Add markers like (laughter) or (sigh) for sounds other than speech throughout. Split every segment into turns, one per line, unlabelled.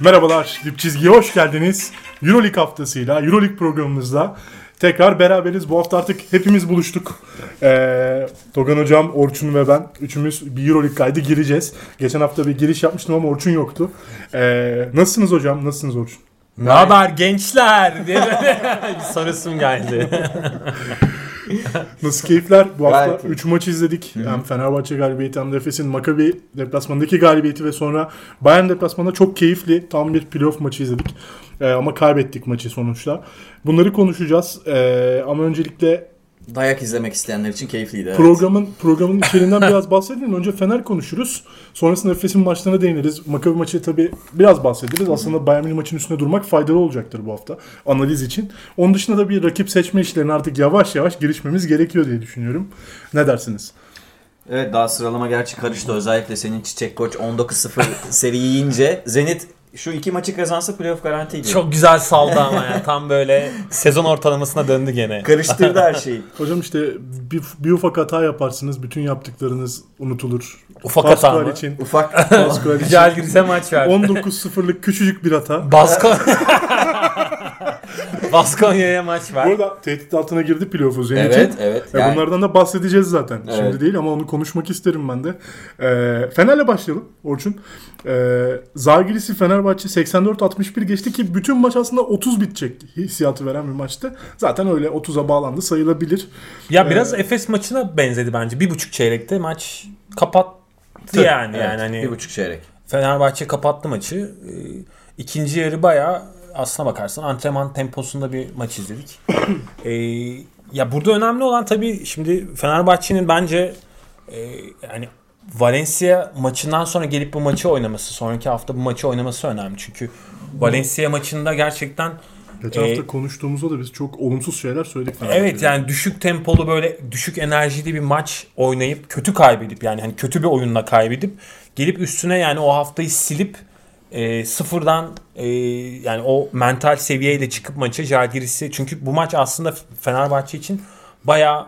Merhabalar, Dip Çizgi'ye hoş geldiniz. Euroleague haftasıyla, Euroleague programımızda tekrar beraberiz. Bu hafta artık hepimiz buluştuk. Ee, Togan Hocam, Orçun ve ben üçümüz bir Euroleague kaydı gireceğiz. Geçen hafta bir giriş yapmıştım ama Orçun yoktu. Ee, nasılsınız hocam, nasılsınız Orçun?
Ne haber (laughs) gençler diye böyle bir sarısım geldi.
Nasıl keyifler? Bu
Gayet
hafta
iyi.
3 maç izledik. Hem Fenerbahçe galibiyeti hem de Efes'in Makabi deplasmanındaki galibiyeti ve sonra Bayern deplasmanında çok keyifli tam bir playoff maçı izledik. Ee, ama kaybettik maçı sonuçta. Bunları konuşacağız. Ee, ama öncelikle
Dayak izlemek isteyenler için keyifliydi. evet.
programın programın içeriğinden biraz bahsedelim. Önce Fener konuşuruz. Sonrasında Efes'in maçlarına değiniriz. Makabi maçı tabii biraz bahsederiz. Aslında Bayern Münih maçının üstüne durmak faydalı olacaktır bu hafta analiz için. Onun dışında da bir rakip seçme işlerine artık yavaş yavaş girişmemiz gerekiyor diye düşünüyorum. Ne dersiniz?
Evet daha sıralama gerçi karıştı. Özellikle senin Çiçek Koç (laughs) 19-0 seri yiyince Zenit şu iki maçı kazansa playoff
(laughs)
garantiydi.
Çok güzel saldı ama ya. Tam böyle sezon ortalamasına döndü gene.
karıştırdı her şeyi.
Hocam işte bir, bir ufak hata yaparsınız. Bütün yaptıklarınız unutulur.
Ufak
Pascual
hata mı?
(laughs)
için.
Ufak
Pascual için.
Güzel girse maç verdi.
19-0'lık küçücük bir hata.
Baskon...
(laughs)
Baskonya'ya maç
Bu
var.
arada tehdit altına girdi playoff'u Zenit'in.
Evet evet.
Ya
Yani
E, Bunlardan da bahsedeceğiz zaten.
Evet.
Şimdi değil ama onu konuşmak isterim ben de. Ee, Fener'le başlayalım Orçun. Ee, Zagiris'i Fenerbahçe 84-61 geçti ki bütün maç aslında 30 bitecek hissiyatı veren bir maçtı. Zaten öyle 30'a bağlandı sayılabilir.
Ya biraz Efes maçına benzedi bence. Bir buçuk çeyrekte maç kapattı yani.
evet,
yani hani
bir buçuk çeyrek.
Fenerbahçe kapattı maçı. Ee, İkinci yarı bayağı aslına bakarsan antrenman temposunda bir
(coughs)
maç izledik. Ee, ya burada önemli olan tabii şimdi Fenerbahçe'nin bence e, yani Valencia maçından sonra gelip bu maçı oynaması, sonraki hafta bu maçı oynaması önemli. Çünkü Valencia maçında gerçekten
Geçen
Ee,
hafta konuştuğumuzda da biz çok olumsuz şeyler söyledik. Fenerbahçe'de.
Evet yani düşük tempolu böyle düşük enerjili bir maç oynayıp kötü kaybedip yani hani kötü bir oyunla kaybedip gelip üstüne yani o haftayı silip e, sıfırdan e, yani o mental seviyeyle çıkıp maça Jalgiris'i çünkü bu maç aslında Fenerbahçe için bayağı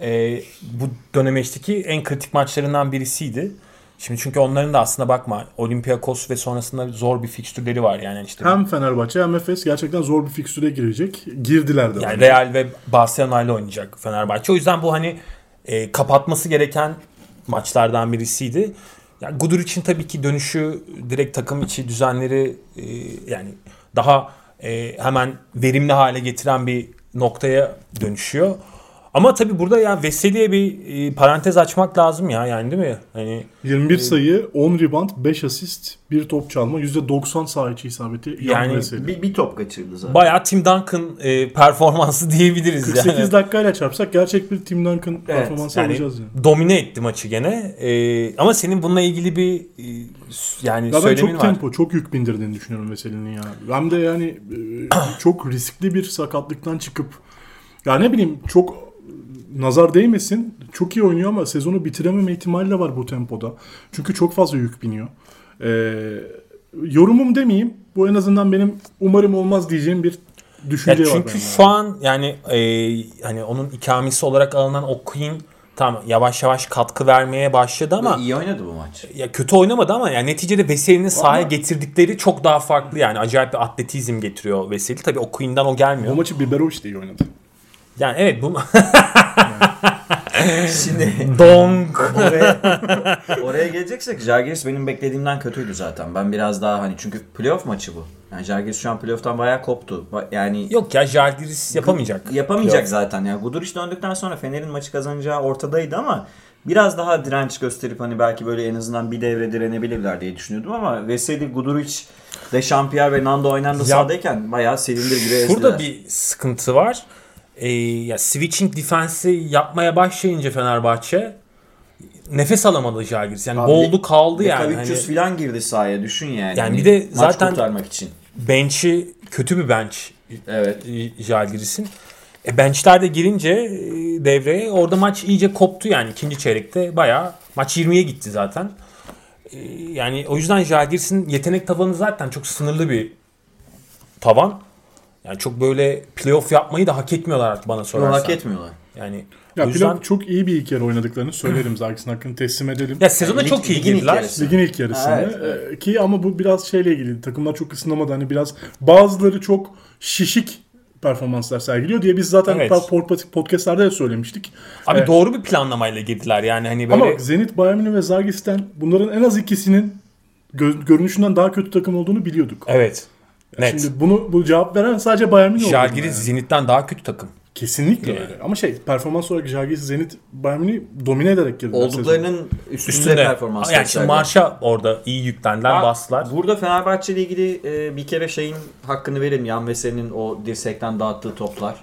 e, bu dönemeçteki en kritik maçlarından birisiydi. Şimdi çünkü onların da aslında bakma Olympiakos ve sonrasında zor bir fikstürleri var yani işte.
Hem Fenerbahçe hem Efes gerçekten zor bir fikstüre girecek. Girdiler de.
Yani Real ve Barcelona ile oynayacak Fenerbahçe. O yüzden bu hani e, kapatması gereken maçlardan birisiydi. Yani Gudur için tabii ki dönüşü direkt takım içi düzenleri e, yani daha e, hemen verimli hale getiren bir noktaya dönüşüyor. Ama tabii burada ya Veseli'ye bir e, parantez açmak lazım ya yani değil mi? Hani
21 sayı, 10 rebound, 5 asist, 1 top çalma, %90 saha içi isabeti.
Yani
Yani
Bir, bir top kaçırdı zaten.
bayağı Tim Duncan e, performansı (laughs) diyebiliriz yani.
48 dakikayla çarpsak gerçek bir Tim Duncan performansı
yani
alacağız yani.
Domine etti maçı gene. Ee, ama senin bununla ilgili bir e, s- yani
Ya ben
söylemin
çok
var.
tempo, çok yük bindirdiğini düşünüyorum meselenin ya. Hem de yani e, (clears throat) çok riskli bir sakatlıktan çıkıp ya ne bileyim çok nazar değmesin. Çok iyi oynuyor ama sezonu bitirememe ihtimali de var bu tempoda. Çünkü çok fazla yük biniyor. E, yorumum demeyeyim. Bu en azından benim umarım olmaz diyeceğim bir
Ya
düşünce var.
çünkü
bende.
şu an yani e, hani onun ikamesi olarak alınan O'Quinn tam yavaş yavaş katkı vermeye başladı ama
iyi oynadı bu maç.
ya kötü oynamadı ama yani neticede Veseli'nin sahaya getirdikleri çok daha farklı yani acayip bir atletizm getiriyor Veseli. Tabii O'Quinn'den o
bu
gelmiyor.
maçı Biberovic de iyi oynadı.
Yani
(laughs)
evet bu
Şimdi
donk
oraya, (laughs) oraya geleceksek Jagiris benim beklediğimden kötüydü zaten. Ben biraz daha hani çünkü playoff maçı bu. Yani Jagiris şu an playoff'tan bayağı koptu. Ba- Yani
Yok ya Jalgiris yapamayacak.
Yapamayacak zaten ya. Guduric döndükten sonra Fener'in maçı kazanacağı ortadaydı ama biraz daha direnç gösterip hani belki böyle en azından bir devre direnebilirler diye düşünüyordum ama Veseli, Guduric, de Champier ve Nando aynı anda sahadayken bayağı silindir gibi ezdiler.
Şurada bir sıkıntı var. Ee, ya switching defensi yapmaya başlayınca Fenerbahçe nefes alamadı Jalgiris. Yani
Abi,
boğuldu kaldı
Dekavicius
yani. Hani
falan girdi sahaya düşün yani. Hani
Yani bir de
maç
zaten-
kurtarmak için.
bench'i kötü bir bench
Evet.
e, Jalgiris'in. E benchler de girince e, devreye orada maç iyice koptu yani ikinci çeyrekte bayağı maç 20'ye gitti zaten. E, yani o yüzden Jalgiris'in yetenek tavanı zaten çok sınırlı bir tavan. Yani çok böyle playoff yapmayı da hak etmiyorlar artık bana
Bunu
sorarsan.
hak etmiyorlar.
Yani
Ya
o yüzden
Pilav çok iyi bir ilk yarı oynadıklarını söylerim. Zagis'in hakkını teslim edelim.
ya sezona
Lig-
çok iyi
ligin ilk
girdiler.
yarısı.
Ligin ilk yarısında.
Evet,
Ee, Ki ama bu biraz şeyle ilgili. Takımlar çok ısınamadı. Hani biraz bazıları çok şişik performanslar sergiliyor diye biz zaten
Evet.
pa- pod- podcastlerde de söylemiştik.
Abi
Evet.
doğru bir planlamayla girdiler yani hani
Ama
böyle
bak Zenit, Bayern Münih ve Zagis'ten bunların en az ikisinin gö- görünüşünden daha kötü takım olduğunu biliyorduk.
evet. Net.
Şimdi bunu bu cevap veren sadece Bayern Münih oldu.
Jalgiris Ee,
Yani.
Zenit'ten daha kötü takım.
Kesinlikle
Yani.
öyle. Ama şey performans olarak Jalgiris, Zenit, Bayern Münih domine ederek girdiler.
(laughs)
sezona.
Olduklarının üstünde,
Üstünde.
performans
Yani şimdi
gösterdiler.
Marş'a orada iyi yüklendiler,
Ha,
bastılar.
Burada Fenerbahçe ile ilgili e, bir kere şeyin hakkını verin. Yan Veseli'nin o dirsekten dağıttığı toplar.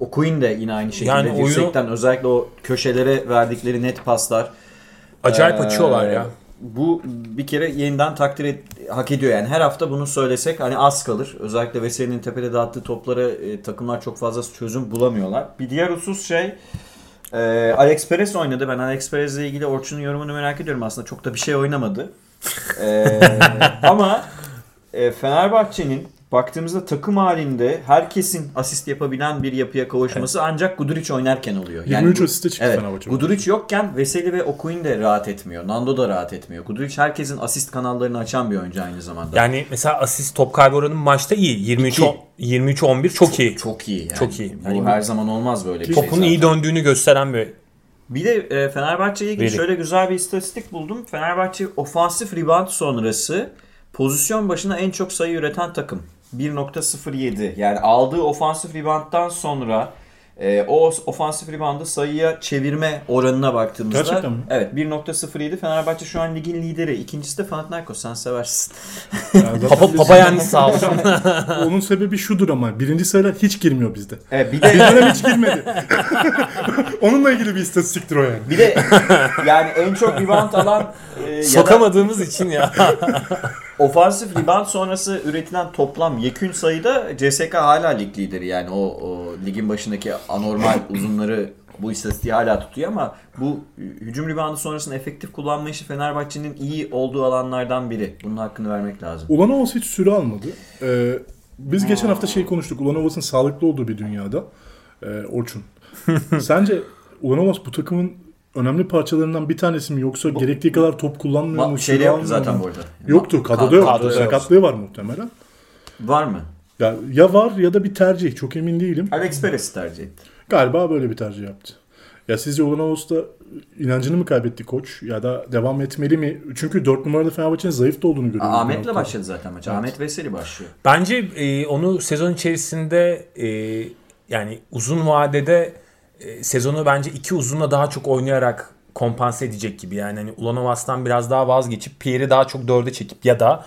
O Queen de yine aynı şekilde
Yani oyunu-
dirsekten özellikle o köşelere verdikleri net paslar.
Acayip
Ee,
açıyorlar ya.
Bu bir kere yeniden takdir et, hak ediyor yani. Her hafta bunu söylesek hani az kalır. Özellikle Veseli'nin tepede dağıttığı toplara e, takımlar çok fazla çözüm bulamıyorlar. Bir diğer husus şey e, Alex Perez oynadı. Ben Alex Perez'le ilgili Orçun'un yorumunu merak ediyorum aslında. Çok da bir şey oynamadı.
(laughs)
E, ama e, Fenerbahçe'nin baktığımızda takım halinde herkesin asist yapabilen bir yapıya kavuşması ancak Guduric oynarken oluyor.
23
bu-
asiste çıktı
Evet.
Fenerbahçe.
Guduric yokken Veseli ve Okuyun de rahat etmiyor. Nando da rahat etmiyor. Guduric herkesin asist kanallarını açan bir oyuncu aynı zamanda.
Yani mesela asist top kaybı oranı maçta iyi. 23
İki.
23 11 çok iyi.
çok iyi yani.
Çok iyi.
Bu
Yani
her zaman olmaz böyle bir şey.
Topun
zaten.
iyi döndüğünü gösteren bir
Bir de e, Fenerbahçe'ye ilgili
Veri.
şöyle güzel bir istatistik buldum. Fenerbahçe ofansif rebound sonrası pozisyon başına en çok sayı üreten takım. 1.07 yani aldığı ofansif rebound'dan sonra e, o ofansif reboundı sayıya çevirme oranına baktığımızda
Gerçekten mi?
evet 1.07 Fenerbahçe şu an ligin lideri. İkincisi de Panathinaikos sen seversin.
(laughs) Yani zaten
Papa,
biz-
papa yani sağ olsun.
Onun sebebi şudur ama birinci sayılar hiç girmiyor bizde.
Evet bir de
Bizlere hiç girmedi. Onunla ilgili bir istatistiktir o yani.
bir de yani en çok rebound alan e, ya da-
Sokamadığımız için ya.
Ofansif rebound sonrası üretilen toplam yekün sayıda CSK hala lig lideri yani o, o ligin başındaki
(clears throat)
anormal uzunları bu istatistiği hala tutuyor ama bu hücum reboundu sonrasında efektif kullanma işi Fenerbahçe'nin iyi olduğu alanlardan biri. Bunun hakkını vermek lazım.
Ulan Oğuz hiç süre almadı. Ee, biz geçen hafta şey konuştuk. Ulan Oğuz'un sağlıklı olduğu bir dünyada. Ee, (laughs) Orçun. Sence Ulan Oğuz bu takımın önemli parçalarından bir tanesi mi yoksa gerektiği kadar top kullanmıyor mu?
Ba- şeyde
süre
yoktu
almıyor
şey zaten
mu?
bu arada.
Yoktu. Kadroda
Kadroda
yoktu.
yoktu.
Sakatlığı var muhtemelen.
Var mı?
Ya, ya var ya da bir tercih. Çok emin değilim.
Alex Perez tercih etti.
Galiba böyle bir tercih yaptı. Ya sizce Ulan Oğuz'da inancını mı kaybetti koç ya da devam etmeli mi? Çünkü 4 numarada Fenerbahçe'nin zayıf da olduğunu görüyorum. bir
Ahmet'le
noktada.
başladı zaten maç. Ahmet Veseli başlıyor.
Bence e, onu sezon içerisinde e, yani uzun vadede e, sezonu bence iki uzunla daha çok oynayarak kompanse edecek gibi. Yani hani Ulanovas'tan biraz daha vazgeçip Pierre'i daha çok dörde çekip ya da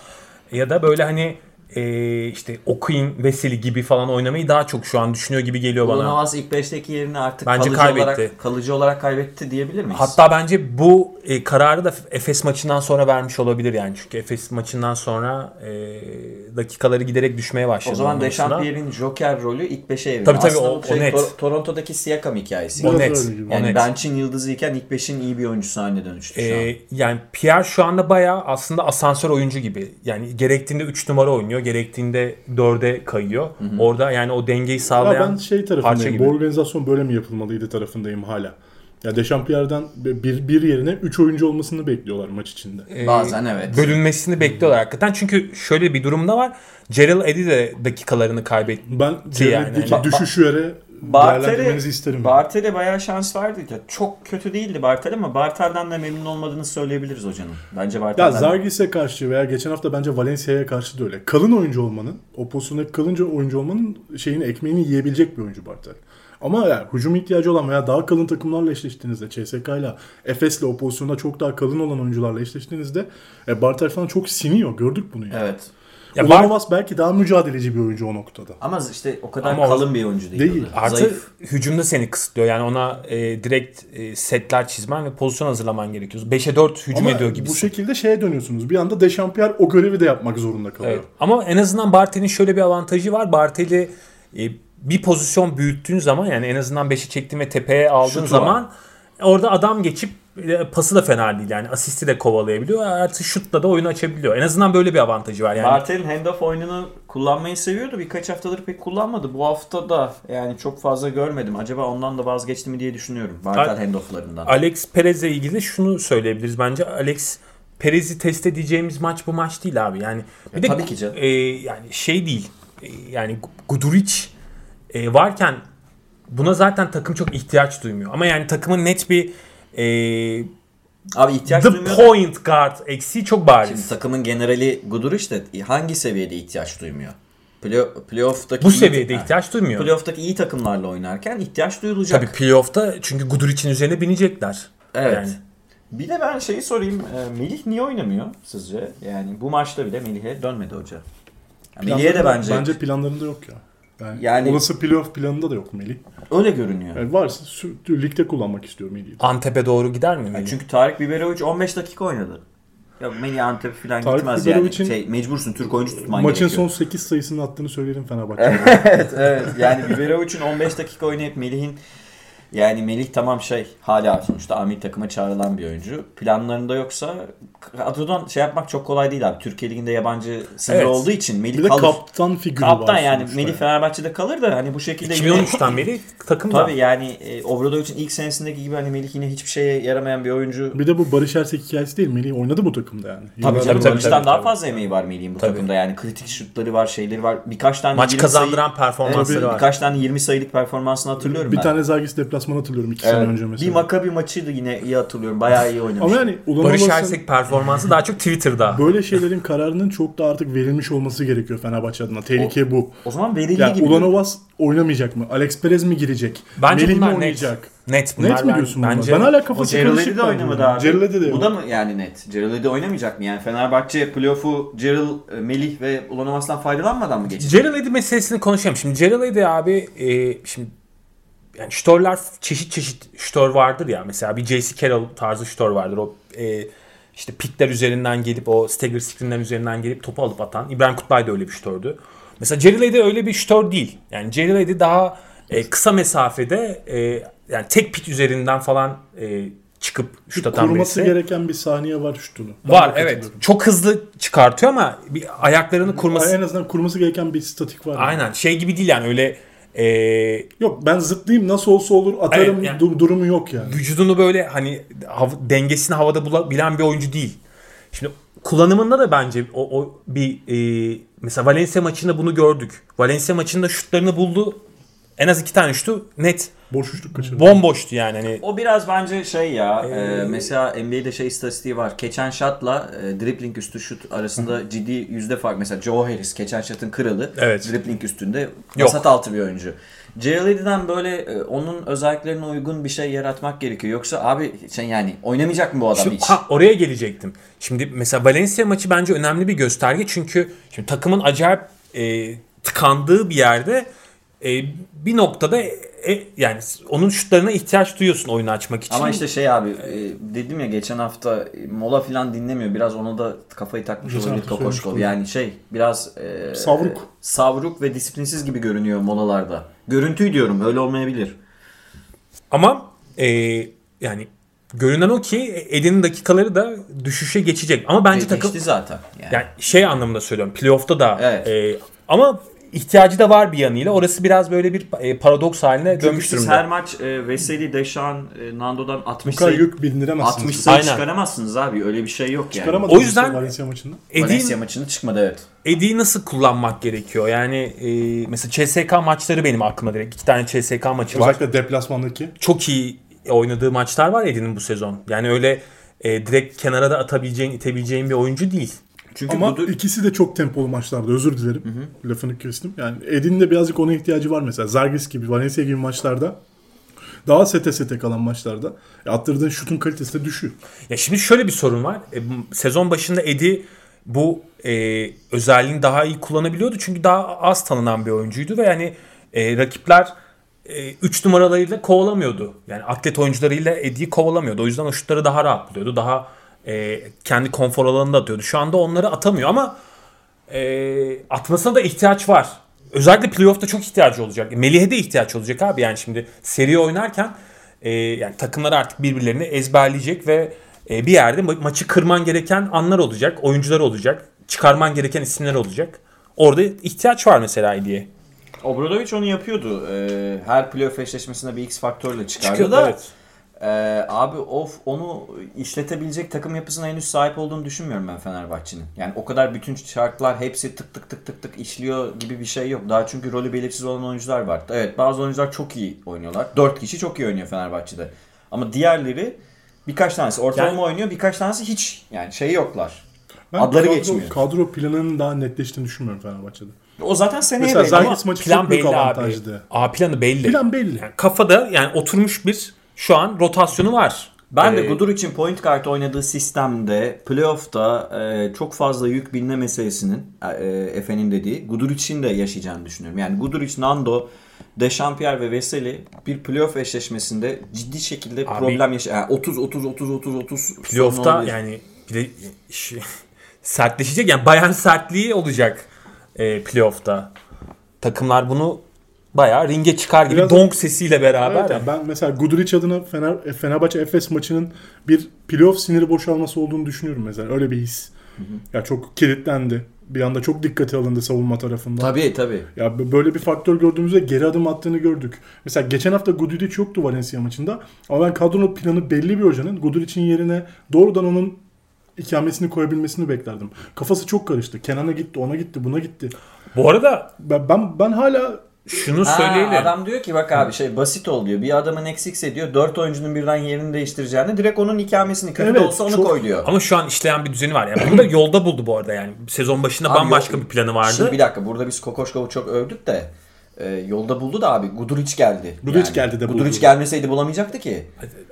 ya da böyle hani e, işte Okuyun, Veseli gibi falan oynamayı daha çok şu an düşünüyor gibi geliyor bana.
Donovas ilk 5'teki yerini artık
Bence
kalıcı,
kaybetti.
olarak, kalıcı olarak kaybetti diyebilir miyiz?
Hatta bence bu e, kararı da Efes maçından sonra vermiş olabilir yani. Çünkü Efes maçından sonra e, dakikaları giderek düşmeye başladı.
O zaman
ondan sonra.
Deschamps Pierre'in Joker rolü ilk 5'e evriliyor.
Tabii tabii,
Aslında
o-
bu şey
o net.
Tor- Toronto'daki Siakam hikayesi.
O Biraz
O net.
öyle gibi.
o
yani
net.
bench'in yıldızıyken ilk 5'in iyi bir oyuncusu haline dönüştü şu an.
Ee, yani Pierre şu anda bayağı aslında asansör oyuncu gibi. Yani gerektiğinde 3 numara oynuyor, gerektiğinde 4'e kayıyor. Orada yani o dengeyi
Ya
sağlayan
ben şey
parça
tarafındayım.
gibi.
Bu organizasyon böyle mi yapılmalıydı tarafındayım hala. Ya Dechampierre'den bir, bir yerine 3 oyuncu olmasını bekliyorlar maç içinde.
Ee,
Bazen evet.
bölünmesini bekliyorlar hakikaten. Çünkü şöyle bir durumda var. Gerald Eddy de dakikalarını kaybetti.
Ben Cevdet'teki
yani. hani,
düşüş yere değerlendirmenizi isterim.
Bartel'e Bartel'e bayağı şans vardı. Ya çok kötü değildi Bartel ama Bartel'den de memnun olmadığını söyleyebiliriz hocanın. Bence
ya
Bartel'den.
Zargis'e karşı veya geçen hafta bence Valencia'ya karşı da öyle. Kalın oyuncu olmanın, o pozisyonda kalınca oyuncu olmanın şeyini, ekmeğini yiyebilecek bir oyuncu Bartel. Ama yani hücum ihtiyacı olan veya daha kalın takımlarla eşleştiğinizde, CSK'yla, Efes'le o pozisyonda çok daha kalın olan oyuncularla eşleştiğinizde e, Bartel falan çok siniyor. Gördük bunu yani.
Evet.
Ya
Ulan
Bart-
Ovas belki daha mücadeleci bir oyuncu o noktada.
Ama işte o kadar
Ama o-
kalın bir oyuncu değil.
Değil.
o da.
Artı
Zayıf.
hücumda seni kısıtlıyor. Yani ona e, direkt e, setler çizmen ve pozisyon hazırlaman gerekiyor. 5'e 4 hücum
Ama
ediyor gibi.
bu şekilde şeye dönüyorsunuz. Bir anda Dechampierre o görevi de yapmak zorunda kalıyor.
Evet. Ama en azından Bartel'in şöyle bir avantajı var. Bartel'i e, bir pozisyon büyüttüğün zaman yani en azından 5'i çektiğin ve tepeye aldığın
Şutu var.
zaman orada adam geçip e, pası da fena değil yani. Asisti de kovalayabiliyor. Artı şutla da oyunu açabiliyor. En azından böyle bir avantajı var yani.
Bartel'in handoff oyununu kullanmayı seviyordu. Birkaç haftadır pek kullanmadı. Bu hafta da yani çok fazla görmedim. Acaba ondan da vazgeçti mi diye düşünüyorum. Bartel
Ay-
handofflarından.
Alex Perez'le ilgili de şunu söyleyebiliriz bence. Alex Perez'i test edeceğimiz maç bu maç değil abi. Yani bir de
tabii ki canım.
e, yani şey değil. E, yani Guduric e, varken buna zaten takım çok ihtiyaç duymuyor. Ama yani takımın net bir e,
Abi ihtiyaç
the
duymuyor. da-
point guard eksiği çok bariz.
Şimdi takımın generali Guduric de hangi seviyede ihtiyaç duymuyor? Play- playoff'taki
bu
iyi-
seviyede
Ha.
ihtiyaç duymuyor.
Playoff'taki iyi takımlarla oynarken ihtiyaç duyulacak.
Tabii playoff'ta çünkü Guduric'in üzerine binecekler.
Evet.
Yani.
Bir de ben şeyi sorayım. e, Melih niye oynamıyor sizce? Yani bu maçta bile Melih'e dönmedi hoca. Ya Melih'e de bence,
Bence planlarında yok ya. Yani,
Yani-
olası playoff planında da yok Melih.
öyle görünüyor.
Yani varsa sü- ligde kullanmak istiyor Melih'i.
Antep'e doğru gider mi?
Ya
Melih?
çünkü Tarık Biberovic 15 dakika oynadı. Ya Melih Antep falan
Tarık
gitmez yani.
Biberovic'in-
Şey, mecbursun Türk oyuncu tutman
Maçın son
gerekiyor.
8 sayısını attığını söyleyelim Fenerbahçe'ye.
evet, evet. Yani Biberovic'in 15 dakika oynayıp Melih'in yani Melih tamam şey hala sonuçta Amir takıma çağrılan bir oyuncu. Planlarında yoksa kadrodan şey yapmak çok kolay değil abi. Türkiye Ligi'nde yabancı sınırı
Evet.
olduğu için Melih
bir de
kalır.
kaptan figürü var.
Kaptan yani
sonuçta
Melih Fenerbahçe'de kalır da hani bu şekilde yine-
2013'ten beri takımda.
Tabii yani e, Obradovic'in ilk senesindeki gibi hani Melih yine hiçbir şeye yaramayan bir oyuncu.
Bir de bu Barış Ersek hikayesi değil. Melih oynadı bu takımda yani.
Tabii
Yıllardır
tabii,
oynadı.
Barış'tan
tabii,
daha
tabii.
fazla emeği var Melih'in bu
Tabii.
takımda. Yani kritik şutları var, şeyleri var. Birkaç tane
Maç
20
kazandıran
sayı-
performansları
Evet,
var.
Birkaç tane 20 sayılık performansını hatırlıyorum
Bir
ben.
tane Zagis deplasmanı hatırlıyorum 2
Evet.
sene önce
Bir
mesela.
Makabi maçıydı yine iyi hatırlıyorum. Bayağı iyi oynamıştı.
Ama yani Ulan
Barış
Ovas'ın
Ersek performansı daha çok
(laughs)
Twitter'da.
böyle şeylerin kararının çok da artık verilmiş olması gerekiyor Fenerbahçe adına. Tehlike bu.
o zaman verildi
Ya
gibi.
Ulan Ovas oynamayacak mı? Alex Perez mi girecek?
Bence
Melih mi
bunlar net.
oynayacak?
Net bunlar.
Net mi
ben-
diyorsun bunlar?
bence
Ben hala
O
kafası karışık.
Cerrell'i de
ben
oynamadı
bunun.
abi.
Cerrell'i de
Bu
yok.
da mı yani net? Cerrell'i de oynamayacak mı? Yani Fenerbahçe playoff'u Cerrell, e, Melih ve Ulan Ovas'tan faydalanmadan mı geçecek?
Gerald Eddy meselesini konuşalım. Şimdi Gerald Eddy abi e, şimdi yani ştorlar çeşit çeşit ştor vardır ya. Mesela bir J.C. Carroll tarzı ştor vardır. O e, işte pikler üzerinden gelip o stagger screen'den üzerinden gelip topu alıp atan. İbrahim Kutlay da öyle bir ştordu. Mesela Gerald Eddy öyle bir ştor değil. Yani Gerald Eddy daha e, kısa mesafede e, yani tek pit üzerinden falan e, çıkıp şut atan
Kurması
birisi.
gereken bir saniye var şutunu. Ben
Var
de
evet.
katılıyorum.
Çok hızlı çıkartıyor ama bir ayaklarını kurması
En azından kurması gereken bir statik var. yani.
Aynen şey gibi değil yani öyle e,
Yok ben zıplayayım nasıl olsa olur atarım
Evet, yani-
dur- durumu yok yani.
vücudunu böyle hani hav- dengesini havada bulabilen bir oyuncu değil. Şimdi kullanımında da bence o, o bir e, mesela Valencia maçında bunu gördük. Valencia maçında şutlarını buldu. En az iki tane şutu net
Boş şutluk kaçırdı.
bomboştu yani. Hani
O biraz bence şey ya.
Ee,
e, mesela NBA'de şey istatistiği var. Keçen şatla e, dribbling üstü şut arasında ciddi yüzde fark. Mesela Joe Harris keçen şatın kralı.
Evet.
Dribbling üstünde
Yok.
vasat altı bir oyuncu. JLD'den böyle e, onun özelliklerine uygun bir şey yaratmak gerekiyor. Yoksa abi sen yani oynamayacak mı bu
(laughs)
adam
Şimdi-
hiç?
ha, oraya gelecektim. Şimdi mesela Valencia maçı bence önemli bir gösterge çünkü şimdi takımın acayip e, tıkandığı bir yerde e, bir noktada e, e, yani onun şutlarına ihtiyaç duyuyorsun oyunu açmak için.
Ama işte şey abi e, dedim ya geçen hafta e, mola filan dinlemiyor. Biraz ona da kafayı takmış
Geçen
olabilir
hafta
Kokoşkov.
söylemiştim.
Yani şey biraz e,
Savruk.
savruk ve disiplinsiz gibi görünüyor molalarda. Görüntüyü diyorum öyle olmayabilir.
Ama e, yani görünen o ki Edin'in dakikaları da düşüşe geçecek. Ama bence
E,
takım
Geçti zaten. Yani.
yani şey anlamında söylüyorum. Playoff'ta da
Evet.
e, ama ihtiyacı da var bir yanıyla. Orası biraz böyle bir e, paradoks haline
Çünkü
dönmüş
siz
durumda.
her maç e, Veseli, Deşan, e, Nando'dan 60
Şey,
Bu kadar
sayı,
yük bindiremezsiniz.
60 sayı
Aynen.
çıkaramazsınız abi. Öyle bir şey yok yani.
Çıkaramadınız
O yüzden-
işte Valencia maçında.
Edin-
Valencia maçını çıkmadı evet.
Edi'yi nasıl kullanmak gerekiyor? Yani e, mesela CSK maçları benim aklıma direkt. İki tane CSK maçı var.
Özellikle deplasmandaki.
Çok iyi oynadığı maçlar var Edi'nin bu sezon. Yani öyle e, direkt kenara da atabileceğin, itebileceğin bir oyuncu değil.
Çünkü
Ama
Gudur-
ikisi de çok tempolu maçlarda özür dilerim. Lafını kestim. Yani Edin'in de birazcık ona ihtiyacı var mesela. Zargis gibi, Valencia gibi maçlarda daha sete sete kalan maçlarda e, attırdığın şutun kalitesi de düşüyor.
Ya şimdi şöyle bir sorun var. E, bu- sezon başında Edi bu e, özelliğini daha iyi kullanabiliyordu. Çünkü daha az tanınan bir oyuncuydu ve yani e, rakipler 3 numaralarıyla kovalamıyordu. Yani atlet oyuncularıyla Edi'yi kovalamıyordu. O yüzden o şutları daha rahat buluyordu. Daha e, kendi konfor alanında atıyordu. Şu anda onları atamıyor ama e, atmasına da ihtiyaç var. Özellikle playoff'ta çok ihtiyacı olacak. Melih'e de ihtiyaç olacak abi yani şimdi seri oynarken e, yani takımlar artık birbirlerini ezberleyecek ve e, bir yerde ma- maçı kırman gereken anlar olacak, oyuncular olacak, çıkarman gereken isimler olacak. Orada ihtiyaç var mesela diye.
Obradovic onu yapıyordu. Ee, her playoff eşleşmesinde bir X faktörle çıkardı
Çıkıyor,
da.
evet.
Ee, abi of onu işletebilecek takım yapısına henüz sahip olduğunu düşünmüyorum ben Fenerbahçe'nin. Yani o kadar bütün şartlar hepsi tık tık tık tık tık işliyor gibi bir şey yok. Daha çünkü rolü belirsiz olan oyuncular var. Evet bazı oyuncular çok iyi oynuyorlar. 4 kişi çok iyi oynuyor Fenerbahçe'de. Ama diğerleri birkaç tanesi ortalama
Yani-
oynuyor birkaç tanesi hiç. Yani şey yoklar.
Ben
Adları
kadro,
geçmiyor.
Kadro planının daha netleştiğini düşünmüyorum Fenerbahçe'de.
O zaten seneye
Mesela
belli ama-
Zagis maçı
Plan
çok büyük
belli abi.
avantajdı.
A planı belli.
Plan belli.
Kafada yani oturmuş bir şu an rotasyonu var.
Ben de
Ee,
Gudur için point guard oynadığı sistemde playoff'ta e, çok fazla yük binme meselesinin e, Efe'nin dediği Gudur için de yaşayacağını düşünüyorum. Yani Gudur için Nando, Dechampierre ve Veseli bir playoff eşleşmesinde ciddi şekilde
Abi-
problem yaşa yani 30 30 30 30 30 sorun
Playoff'ta
olabilir.
yani bir de işi- (laughs) sertleşecek. Yani bayan sertliği olacak e, playoff'ta. Takımlar bunu bayağı ringe çıkar gibi
Biraz-
donk sesiyle beraber.
Evet, yani ben mesela Guduric adına Fener, e, Fenerbahçe Efes maçının bir playoff siniri boşalması olduğunu düşünüyorum mesela. Öyle bir his. Ya çok kilitlendi. Bir anda çok dikkate alındı savunma tarafından.
Tabii tabii.
Ya b- böyle bir faktör gördüğümüzde geri adım attığını gördük. Mesela geçen hafta Guduric yoktu Valencia maçında. Ama ben kadronun planı belli bir hocanın Guduric'in yerine doğrudan onun ikamesini koyabilmesini beklerdim. Kafası çok karıştı. Kenan'a gitti, ona gitti, buna gitti.
Bu arada
Ben ben, ben hala
şunu
Aa,
söyleyelim.
adam diyor ki bak abi şey basit ol diyor. Bir adamın eksikse diyor 4 oyuncunun birden yerini değiştireceğini direkt onun ikamesini kötü de
Evet,
olsa onu
çok-
koy diyor.
Ama şu an işleyen bir düzeni var. Yani bunu da yolda buldu bu arada yani. Sezon başında
Abi
bambaşka
yol-
bir planı vardı.
Şimdi bir dakika burada biz Kokoşkov'u çok övdük de e, yolda buldu da abi Guduric geldi.
Guduric geldi de
Guduric
buldu.
gelmeseydi bulamayacaktı ki.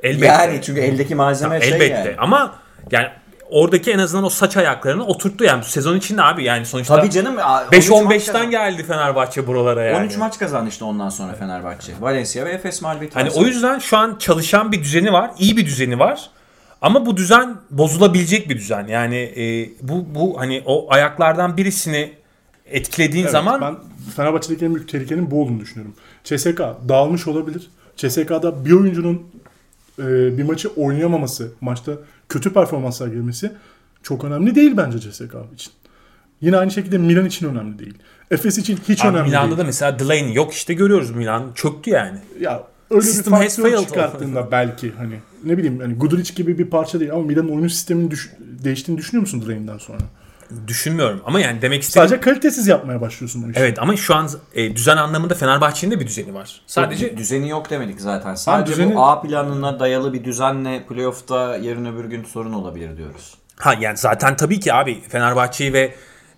Elbette.
Yani çünkü eldeki malzeme şey
Elbette.
yani.
Ama yani oradaki en azından o saç ayaklarını oturttu yani sezon içinde abi yani sonuçta
Tabii canım. a- 13 maç
5-15'ten
kazandı.
geldi Fenerbahçe buralara yani.
13 maç kazandı işte ondan sonra Fenerbahçe. Valencia ve Efes mağlubiyeti.
Hani
arasında.
o yüzden şu an çalışan bir düzeni var, iyi bir düzeni var. Ama bu düzen bozulabilecek bir düzen. Yani e, bu bu hani o ayaklardan birisini etkilediğin
Evet,
zaman
ben Fenerbahçe'deki en büyük tehlikenin bu olduğunu düşünüyorum. CSK dağılmış olabilir. CSK'da bir oyuncunun e, bir maçı oynayamaması, maçta kötü performans sergilemesi çok önemli değil bence CSK için. Yine aynı şekilde Milan için önemli değil. Efes için hiç
Abi
önemli
Milan'da
değil.
da mesela Delaney yok işte görüyoruz Milan çöktü yani.
Ya öyle
System
bir
has failed.
faktör çıkarttığında belki hani ne bileyim hani Guduric gibi bir parça değil ama Milan'ın oyun sisteminin düş- değiştiğini düşünüyor musun Drain'den sonra?
Düşünmüyorum ama yani demek istediğim
Sadece kalitesiz yapmaya başlıyorsun bu işi.
Evet ama şu an e, düzen anlamında Fenerbahçe'nin de bir düzeni var. Sadece
düzeni yok demedik zaten. Sadece
düzeni-
bu A planına dayalı bir düzenle playoff'ta yarın öbür gün sorun olabilir diyoruz.
Ha yani zaten tabii ki abi Fenerbahçe'yi ve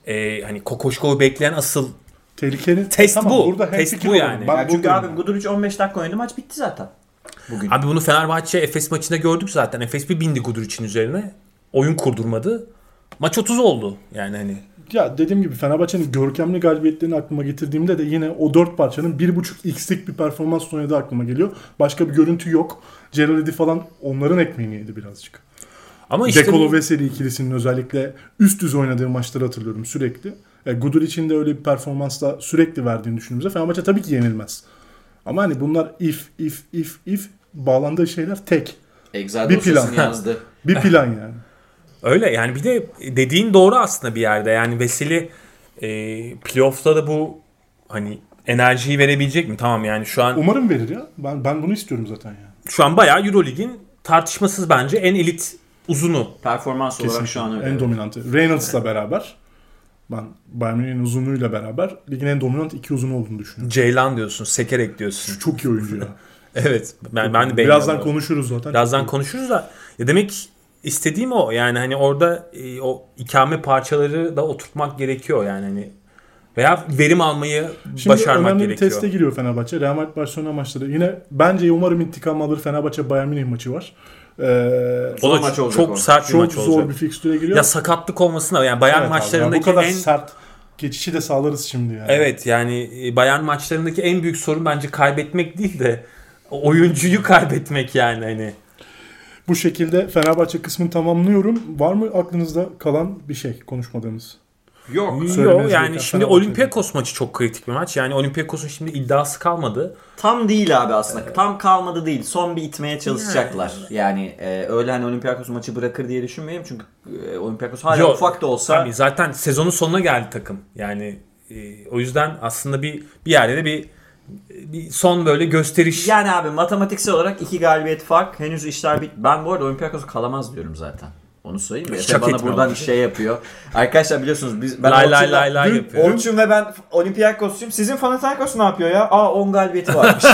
e, hani Kokoşkov'u bekleyen asıl
Tehlikenin
Test bu. Test
hemfikir
bu
olalım.
yani.
Ben
Yani çünkü
buradayım
abi Guduric 15 dakika oynadı maç bitti zaten. Bugün.
abi bunu Fenerbahçe Efes maçında gördük zaten. Efes bir bindi Guduric'in üzerine. Oyun kurdurmadı. Maç 30 oldu. Yani hani
Ya dediğim gibi Fenerbahçe'nin görkemli galibiyetlerini aklıma getirdiğimde de yine o dört parçanın 1.5x'lik bir performans oynadığı aklıma geliyor. Başka bir görüntü yok. Cerrahidi falan onların ekmeğini yedi birazcık.
ama işte
Dekolo
bu-
Veseli ikilisinin özellikle üst düz oynadığı maçları hatırlıyorum sürekli. E, Guduric'in de öyle bir performansla sürekli verdiğini düşündüğümüzde Fenerbahçe tabii ki yenilmez. Ama hani bunlar if, if, if, if bağlandığı şeyler tek.
Exile
bir plan.
dosyasını yazdı.
Bir plan yani.
Öyle yani bir de dediğin doğru aslında bir yerde. Yani Veseli e, playoff'ta da bu hani enerjiyi verebilecek mi? Tamam yani şu an
Umarım verir ya. Ben ben bunu istiyorum zaten yani.
şu an bayağı EuroLeague'in tartışmasız bence en elit uzunu.
Performans olarak şu an öyle.
en dominantı. Reynolds'la beraber ben Bayern Münih'in uzunluğuyla beraber ligin en dominant iki uzunu olduğunu düşünüyorum.
Ceylan diyorsun,
(laughs)
sekerek diyorsun.
Çok iyi oyuncu ya.
Evet. Ben, ben de beğeniyorum.
Birazdan konuşuruz zaten.
Birazdan konuşuruz da ya demek istediğim o. Yani hani orada e, o ikame parçaları da oturtmak gerekiyor yani hani veya verim almayı
Şimdi
başarmak
önemli bir
gerekiyor.
teste giriyor Fenerbahçe. Real Madrid Barcelona maçları. Yine bence umarım intikam alır Fenerbahçe Bayern Münih maçı var. Ee,
O da
Zor maç
çok,
olacak o.
çok sert bir
çok
maç
zor
olacak.
bir fikstüre giriyor.
Ya sakatlık olmasına yani
Evet
bayan
abi,
maçlarındaki
bu kadar
en
sert geçişi de sağlarız şimdi yani.
evet yani e, bayan maçlarındaki en büyük sorun bence kaybetmek değil de oyuncuyu kaybetmek yani hani.
Bu şekilde Fenerbahçe kısmını tamamlıyorum. Var mı aklınızda kalan bir şey konuşmadığımız?
Yok.
Söylemez
Yok yani
gereken
şimdi
Fenerbahçe.
Olympiakos maçı çok kritik bir maç. Yani Olympiakos'un şimdi iddiası kalmadı.
Tam değil abi aslında. Tam kalmadı değil. Son bir itmeye çalışacaklar. Yani e, öyle hani Olympiakos maçı bırakır diye düşünmeyeyim. Çünkü e, Olympiakos hala
Yok.
ufak da olsa
Tabii zaten sezonun sonuna geldi takım. Yani e, o yüzden aslında bir bir yerde de bir, bir son böyle gösteriş.
yani abi matematiksel olarak iki galibiyet fark. Henüz işler bit. Ben bu arada Olympiakos kalamaz diyorum zaten. Onu söyleyeyim mi? Efe
Şaka
bana
etme
buradan
abi.
şey yapıyor. Arkadaşlar biliyorsunuz biz ben
lay lay
Orçun'la-
lay lay
dün-
yapıyor.
Orçun ve ben Olympiakos'cuyum. Sizin Panathinaikos ne yapıyor ya? Aa 10
(laughs)
galibiyeti varmış.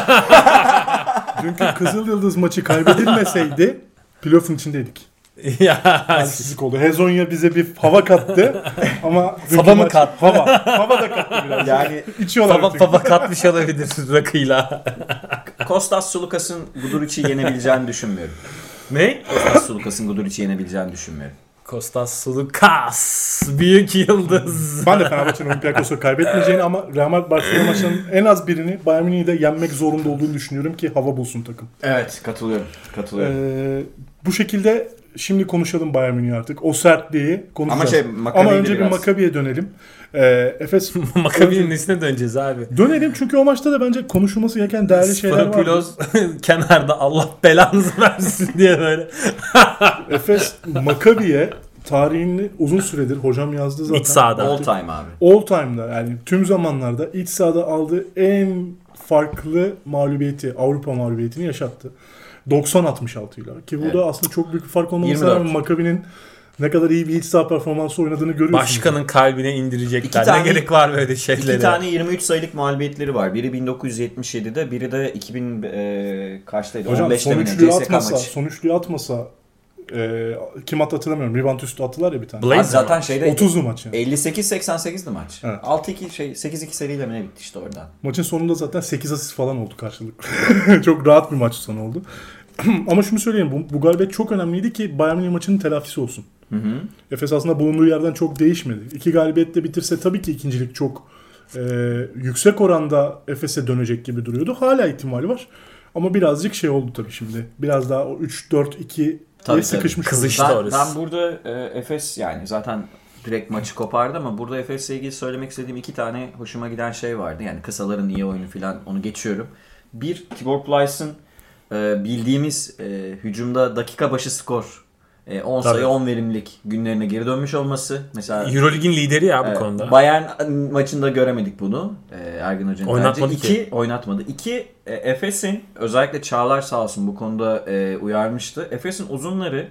Dünkü Kızıl Yıldız maçı kaybedilmeseydi playoff'un içindeydik.
(laughs) ya,
Halsizlik oldu. Hezonya bize bir hava kattı ama dünkü
Hava mı
maç-
kattı?
Hava. Hava da kattı biraz.
yani
İçiyorlar
baba,
çünkü.
(laughs) baba katmış olabilirsiniz rakıyla.
Kostas Sulukas'ın Guduric'i yenebileceğini düşünmüyorum.
ne?
Kostas Sulukas'ın Guduric'i yenebileceğini düşünmüyorum.
Kostas Sulukas. Büyük (laughs) yıldız.
Ben de Fenerbahçe'nin Olympiakos'u kaybetmeyeceğini ama Real Madrid Barcelona maçının en az birini Bayern Münih'i de yenmek zorunda olduğunu düşünüyorum ki hava bulsun takım.
Evet katılıyorum. Katılıyorum.
Ee, bu şekilde şimdi konuşalım Bayern Münih'i artık. O sertliği konuşacağız.
şey, Maccabi'yi de
önce
biraz.
bir Makabi'ye dönelim. Ee, Efes (laughs)
Makabi'nin nesine döneceğiz abi?
dönelim çünkü o maçta da bence konuşulması gereken değerli şeyler var.
Sparapülos (laughs) kenarda Allah belanızı versin diye böyle.
Efes Makabi'ye tarihini uzun süredir hocam yazdı zaten.
İç sahada.
All time abi.
All time'da yani tüm zamanlarda iç sahada aldığı en farklı mağlubiyeti, Avrupa mağlubiyetini yaşattı. 90-66 ile. Ki burada
Evet.
aslında çok büyük bir fark olmamasına
24.
rağmen Makabi'nin ne kadar iyi bir iç saha performansı oynadığını görüyorsunuz.
Başkanın kalbine indirecekler.
İki tane-
ne gerek var böyle şeylere?
İki tane 23 sayılık mağlubiyetleri var. Biri 1977'de, biri de 2000 e, kaçtaydı?
Hocam
15'te
son
mi ne?
üçlüyü
CSK
atmasa,
maçı.
son üçlüyü atmasa e, kim attı hatırlamıyorum. Rebound üstü attılar ya bir tane.
Blazer
Abi zaten
maç.
şeyde
30'lu maç yani.
58-88'di maç.
Evet.
6-2 şey 8-2 seriyle mi ne bitti işte oradan.
Maçın sonunda zaten 8 asist falan oldu karşılıklı. (laughs) çok rahat bir maç sonu oldu. (clears throat) Ama şunu söyleyeyim bu, bu galibiyet çok önemliydi ki Bayern Münih maçının telafisi olsun. Efes aslında bulunduğu yerden çok değişmedi. İki galibiyetle bitirse tabii ki ikincilik çok e, yüksek oranda Efes'e dönecek gibi duruyordu. Hala ihtimali var. Ama birazcık şey oldu tabii şimdi. Biraz daha o 3-4-2'ye
tabii.
sıkışmış oldu.
Kızış. İşte
ben,
orası.
ben burada e, Efes yani zaten direkt maçı kopardı ama burada Efes'le ilgili söylemek istediğim iki tane hoşuma giden şey vardı. Yani kısaların iyi oyunu falan onu geçiyorum. Bir Tibor Plyce'ın e, bildiğimiz e, hücumda dakika başı skor e, 10
Tabii.
sayı 10 verimlilik günlerine geri dönmüş olması. Mesela
Eurolig'in lideri ya bu
Evet,
konuda.
Ee, Bayern maçında göremedik bunu. Ee, Ergin Hoca'nın
Oynatmadı
tercihi.
ki.
İki, oynatmadı. İki, e, Efes'in özellikle Çağlar sağ olsun bu konuda e, uyarmıştı. Efes'in uzunları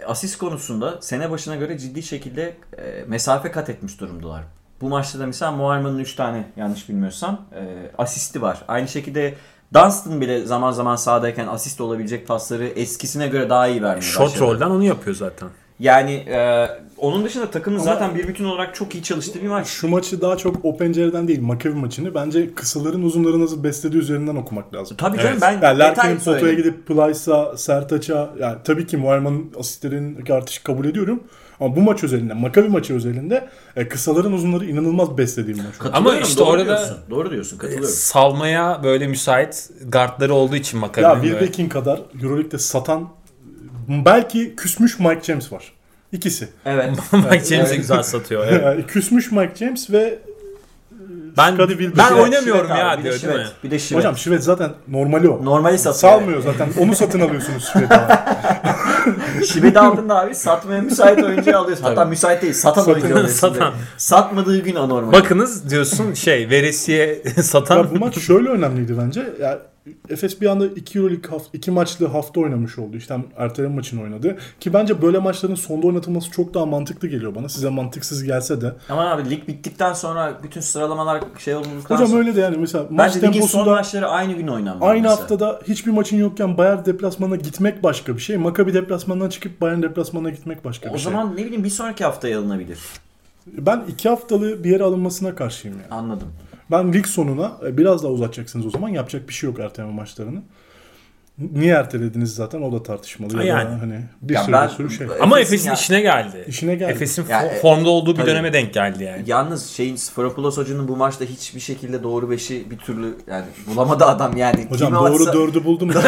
e, asist konusunda sene başına göre ciddi şekilde e, mesafe kat etmiş durumdalar. Bu maçta da mesela Muharman'ın 3 tane yanlış bilmiyorsam e, asisti var. Aynı şekilde Dunstan bile zaman zaman sahadayken asist olabilecek pasları eskisine göre daha iyi vermeye
Shot
başladı.
roll'dan onu yapıyor zaten.
Yani e, onun dışında takımın zaten bir bütün olarak çok iyi çalıştığı bir maç.
Şu maçı daha çok o pencereden değil Makavi maçını bence kısaların uzunları nasıl beslediği üzerinden okumak lazım.
Tabii
Evet.
canım ben
Yani Larkin'in
detaylı
potaya
söyleyeyim.
gidip Plyce'a, Sertaç'a yani tabii ki Muharman'ın asistlerinin artışı kabul ediyorum. Ama bu maç özelinde, Makavi maçı özelinde e, kısaların uzunları inanılmaz beslediğim maç. oldu.
Katılıyorum,
Ama işte
doğru
orada-
diyorsun. Doğru diyorsun katılıyorum.
Salmaya böyle müsait guardları olduğu için
Ya
Makabi'nin
bir
böyle. (laughs)
Bekin kadar Euroleague'de satan belki küsmüş Mike James var. İkisi.
(laughs)
Evet.
Mike James'e güzel satıyor.
(laughs)
evet.
Yani küsmüş Mike James ve
Ben,
Scottie Wilbert.
ben
Şivet,
oynamıyorum
Şivet abi,
ya
bir de
diyor değil mi?
Şivet, Bir de Şivet.
hocam Şivet zaten normali o.
normali satıyor.
Salmıyor zaten. Onu satın alıyorsunuz Şivet'e.
Şivet'i aldın da abi satmaya müsait oyuncuyu alıyorsun. Hatta
Tabii.
müsait değil satan
Satan-
oyuncu alıyorsun.
satan.
direkt. Satmadığı gün anormal.
Bakınız diyorsun şey veresiye (laughs)
Ya bu
satan
(laughs)
maç şöyle önemliydi bence. Ya Efes bir anda 2 Euroleague hafta, iki maçlı hafta oynamış oldu. İşte hem erteleme maçını oynadı. Ki bence böyle maçların sonda oynatılması çok daha mantıklı geliyor bana. Size mantıksız gelse de.
Ama abi lig bittikten sonra bütün sıralamalar şey olduktan
Hocam
sonra.
öyle de yani mesela maç
Bence ligin son
temposunda
maçları aynı gün oynanmalı.
aynı
mesela.
haftada hiçbir maçın yokken Bayern deplasmanına gitmek başka bir şey. Maccabi deplasmanından çıkıp Bayern deplasmanına gitmek başka
O
bir
zaman ne bileyim bir sonraki haftaya alınabilir.
şey. Ben iki haftalı bir yere alınmasına karşıyım yani.
Anladım.
Ben lig sonuna e, biraz daha uzatacaksınız o zaman. Yapacak bir şey yok erteleme maçlarını. Niye ertelediniz zaten o da tartışmalı. Ya
Yani.
da hani bir
Ya
sürü
ben-
bir sürü şey.
ama
Efes'in
Efes'in
ya-
işine geldi.
İşine geldi.
Efes'in
Ya,
fo-
e,
formda olduğu bir
tabii.
döneme denk geldi yani.
Yalnız şeyin Sferopoulos hocanın bu maçta hiçbir şekilde doğru beşi bir türlü yani bulamadı adam yani.
Hocam
Kime
doğru
atsa-
dördü buldum
(laughs)
da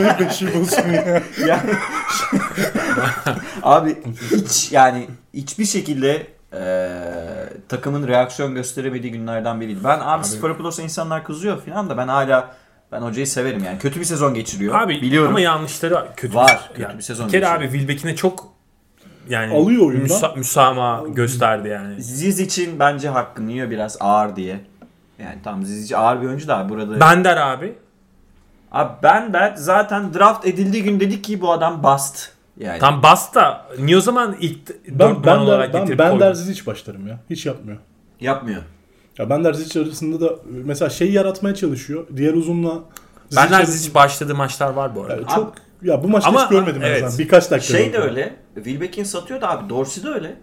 ve beşi bulsun ya.
(laughs)
Yani- abi hiç yani hiçbir şekilde eee, takımın reaksiyon gösteremediği günlerden biriydi. Ben abi, Sferopulos'a insanlar kızıyor falan da ben hala ben hocayı severim yani. Kötü bir sezon geçiriyor.
Abi
Biliyorum.
ama yanlışları var. kötü.
Var, kötü
yani.
bir sezon
Bir kere
geçiyor.
abi Wilbeck'ine çok yani
Alıyor oyundan.
müsa- müsamaha gösterdi yani.
Ziz için bence hakkını yiyor biraz ağır diye. Yani tam Ziz ağır bir oyuncu da burada.
Bender abi.
Abi ben ben zaten draft edildiği gün dedik ki bu adam bast. Yani
Tam bas da niye o zaman ilk
Ben,
dört
ben,
ben olarak
ben,
getirip
ben
koydun?
dersiz hiç başlarım ya. Hiç yapmıyor.
yapmıyor.
Ya Bender Zic arasında da mesela şey yaratmaya çalışıyor. Diğer uzunla Zic
Ben
arasında-
dersiz hiç başladığı maçlar var bu arada.
Yani çok ya bu maçta
Ama-
hiç görmedim en
evet.
azından. Birkaç dakika.
Şey de
gördüm.
öyle. Wilbekin satıyor da abi Dorsey de öyle.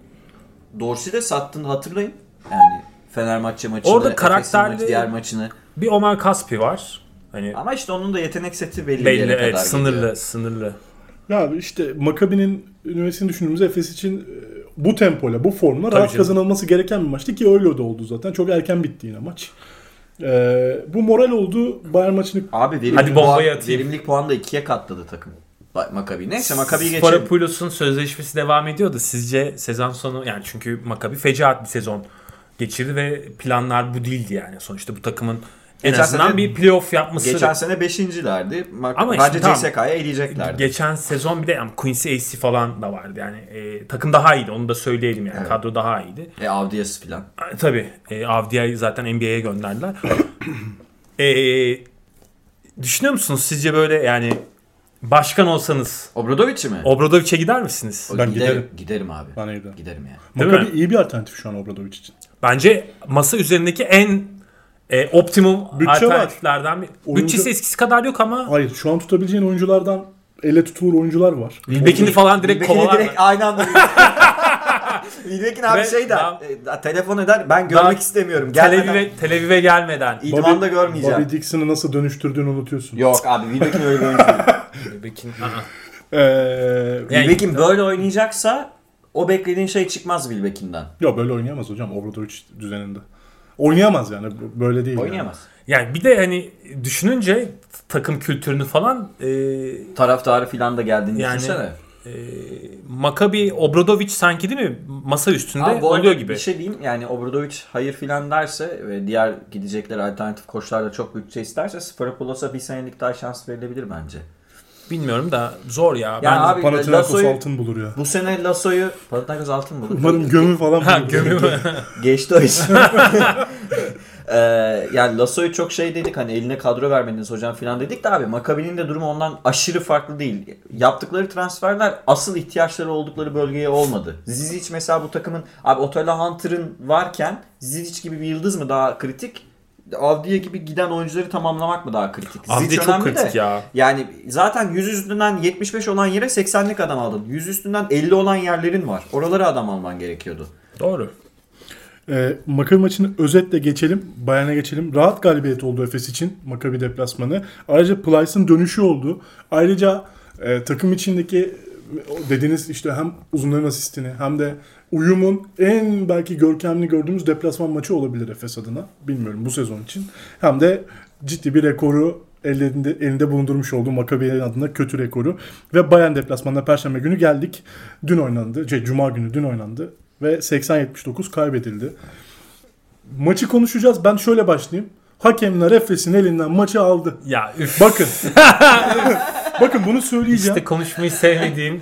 Dorsey de sattığını hatırlayın. Yani Fener maçı maçını,
Orada
Efes'in
karakterli-
maçı, diğer maçını.
Bir Omar Kaspi var. Hani
Ama işte onun da yetenek seti belli, bir
belli
yere
evet
kadar
sınırlı
geliyor.
sınırlı.
Ya işte Makabi'nin üniversitesini düşündüğümüzde Efes için e, bu tempoyla, bu formla rahat
canım.
kazanılması gereken bir maçtı ki öyle de oldu zaten. Çok erken bitti yine maç. Ee, bu moral oldu Bayern maçını
Abi verimli
Hadi
puan,
bombayı atayım.
verimlilik puanı da ikiye katladı takım. Bak Makabi. Neyse Makabi'yi geçelim.
Sporopoulos'un sözleşmesi devam ediyordu. Sizce sezon sonu yani çünkü Maccabi fecaat bir sezon geçirdi ve planlar bu değildi yani. Sonuçta bu takımın en
Geçen
azından
sene-
bir playoff yapması.
Geçen sene beşincilerdi. Mak-
Ama işte
bence
tamam.
CSK'ya eleyeceklerdi.
Geçen sezon bir de yani Quincy AC falan da vardı yani. E, takım daha iyiydi onu da söyleyelim yani. Kadro daha iyiydi.
E Avdias filan.
E, Tabii e, Avdia'yı zaten NBA'ye gönderdiler. e, düşünüyor musunuz sizce böyle yani başkan olsanız
Obradoviç'i mi?
Obradovic'e gider misiniz?
O
Ben
giderim.
giderim.
Giderim abi.
Ben evden.
Giderim yani.
Değil
Makabi
mi?
iyi bir alternatif şu an Obradovic için.
Bence masa üzerindeki en e, optimum
Bütçe
alternatiflerden bir.
Oyuncu-
Bütçesi eskisi kadar yok ama
Hayır şu an tutabileceğin oyunculardan elle tutulur oyuncular var.
Wilbekin'i falan direkt
Wilbekin'i
kovalar.
direkt aynı anda
(laughs)
Wilbekin abi
Ve
şey der.
daha-
e, telefon eder. Ben görmek
Daha
istemiyorum.
Tel
Gelmeden.
Aviv'e, Tel Aviv'e gelmeden.
İdmanda görmeyeceğim.
Bobby Dixon'ı nasıl dönüştürdüğünü unutuyorsun.
Yok abi Wilbekin öyle bir oyuncu (laughs) değil.
Wilbekin.
Ee,
Yani-
Wilbekin böyle oynayacaksa o beklediğin şey çıkmaz Wilbekin'den.
ya böyle oynayamaz hocam Obradovic düzeninde. Oynayamaz yani bu- böyle değil. yani.
Oynayamaz.
Yani bir de hani düşününce takım kültürünü falan e,
Taraftarı filan da geldiğini
Yani-
düşünsene.
e, Maccabi Obradovic sanki değil mi? Masa üstünde
Abi bu arada
oluyor gibi.
Bir şey diyeyim yani Obradovic hayır filan derse ve diğer gidecekleri alternatif koçlar da çok bütçe isterse Sferopoulos'a bir senelik daha şans verilebilir bence.
Bilmiyorum da zor ya.
Yani
ben
abi
Hani Panathinaikos
Lasso'yu-
altın bulur ya.
Bu sene Lasso'yu Panathinaikos altın mı?
Umarım gömü falan
Ha,
bulur.
gömü
Geçti o iş. (laughs) Ee, yani Lasso'yu çok şey dedik hani eline kadro vermediniz hocam filan dedik de abi Makabi'nin de durumu ondan aşırı farklı değil. Yaptıkları transferler asıl ihtiyaçları oldukları bölgeye olmadı. Zizic mesela bu takımın abi Otola Hunter'ın varken Zizic gibi bir yıldız mı daha kritik? Avdiye gibi giden oyuncuları tamamlamak mı daha kritik? Zizic
Avdiye çok
önemli de-
kritik ya.
yani zaten 100 üstünden 75 olan yere 80'lik adam aldın. 100 üstünden 50 olan yerlerin var. Oralara adam alman gerekiyordu.
Doğru.
Ee, Makabi maçını özetle geçelim. Bayern'e geçelim. Rahat galibiyet oldu Efes için Makabi deplasmanı. Ayrıca Plyce'ın dönüşü oldu. Ayrıca e, takım içindeki o dediğiniz işte hem uzunların asistini hem de uyumun en belki görkemli gördüğümüz deplasman maçı olabilir Efes adına. Bilmiyorum bu sezon için. Hem de ciddi bir rekoru elinde, elinde bulundurmuş olduğu Makabi'nin adına kötü rekoru. Ve Bayern deplasmanına perşembe günü geldik. Dün oynandı. Şey, Cuma günü dün oynandı. Ve 80-79 kaybedildi. Maçı konuşacağız. Ben şöyle başlayayım. Hakemler Efes'in elinden maçı aldı.
Ya üf.
Bakın.
(laughs)
Bakın bunu söyleyeceğim.
İşte
(laughs)
konuşmayı sevmediğim.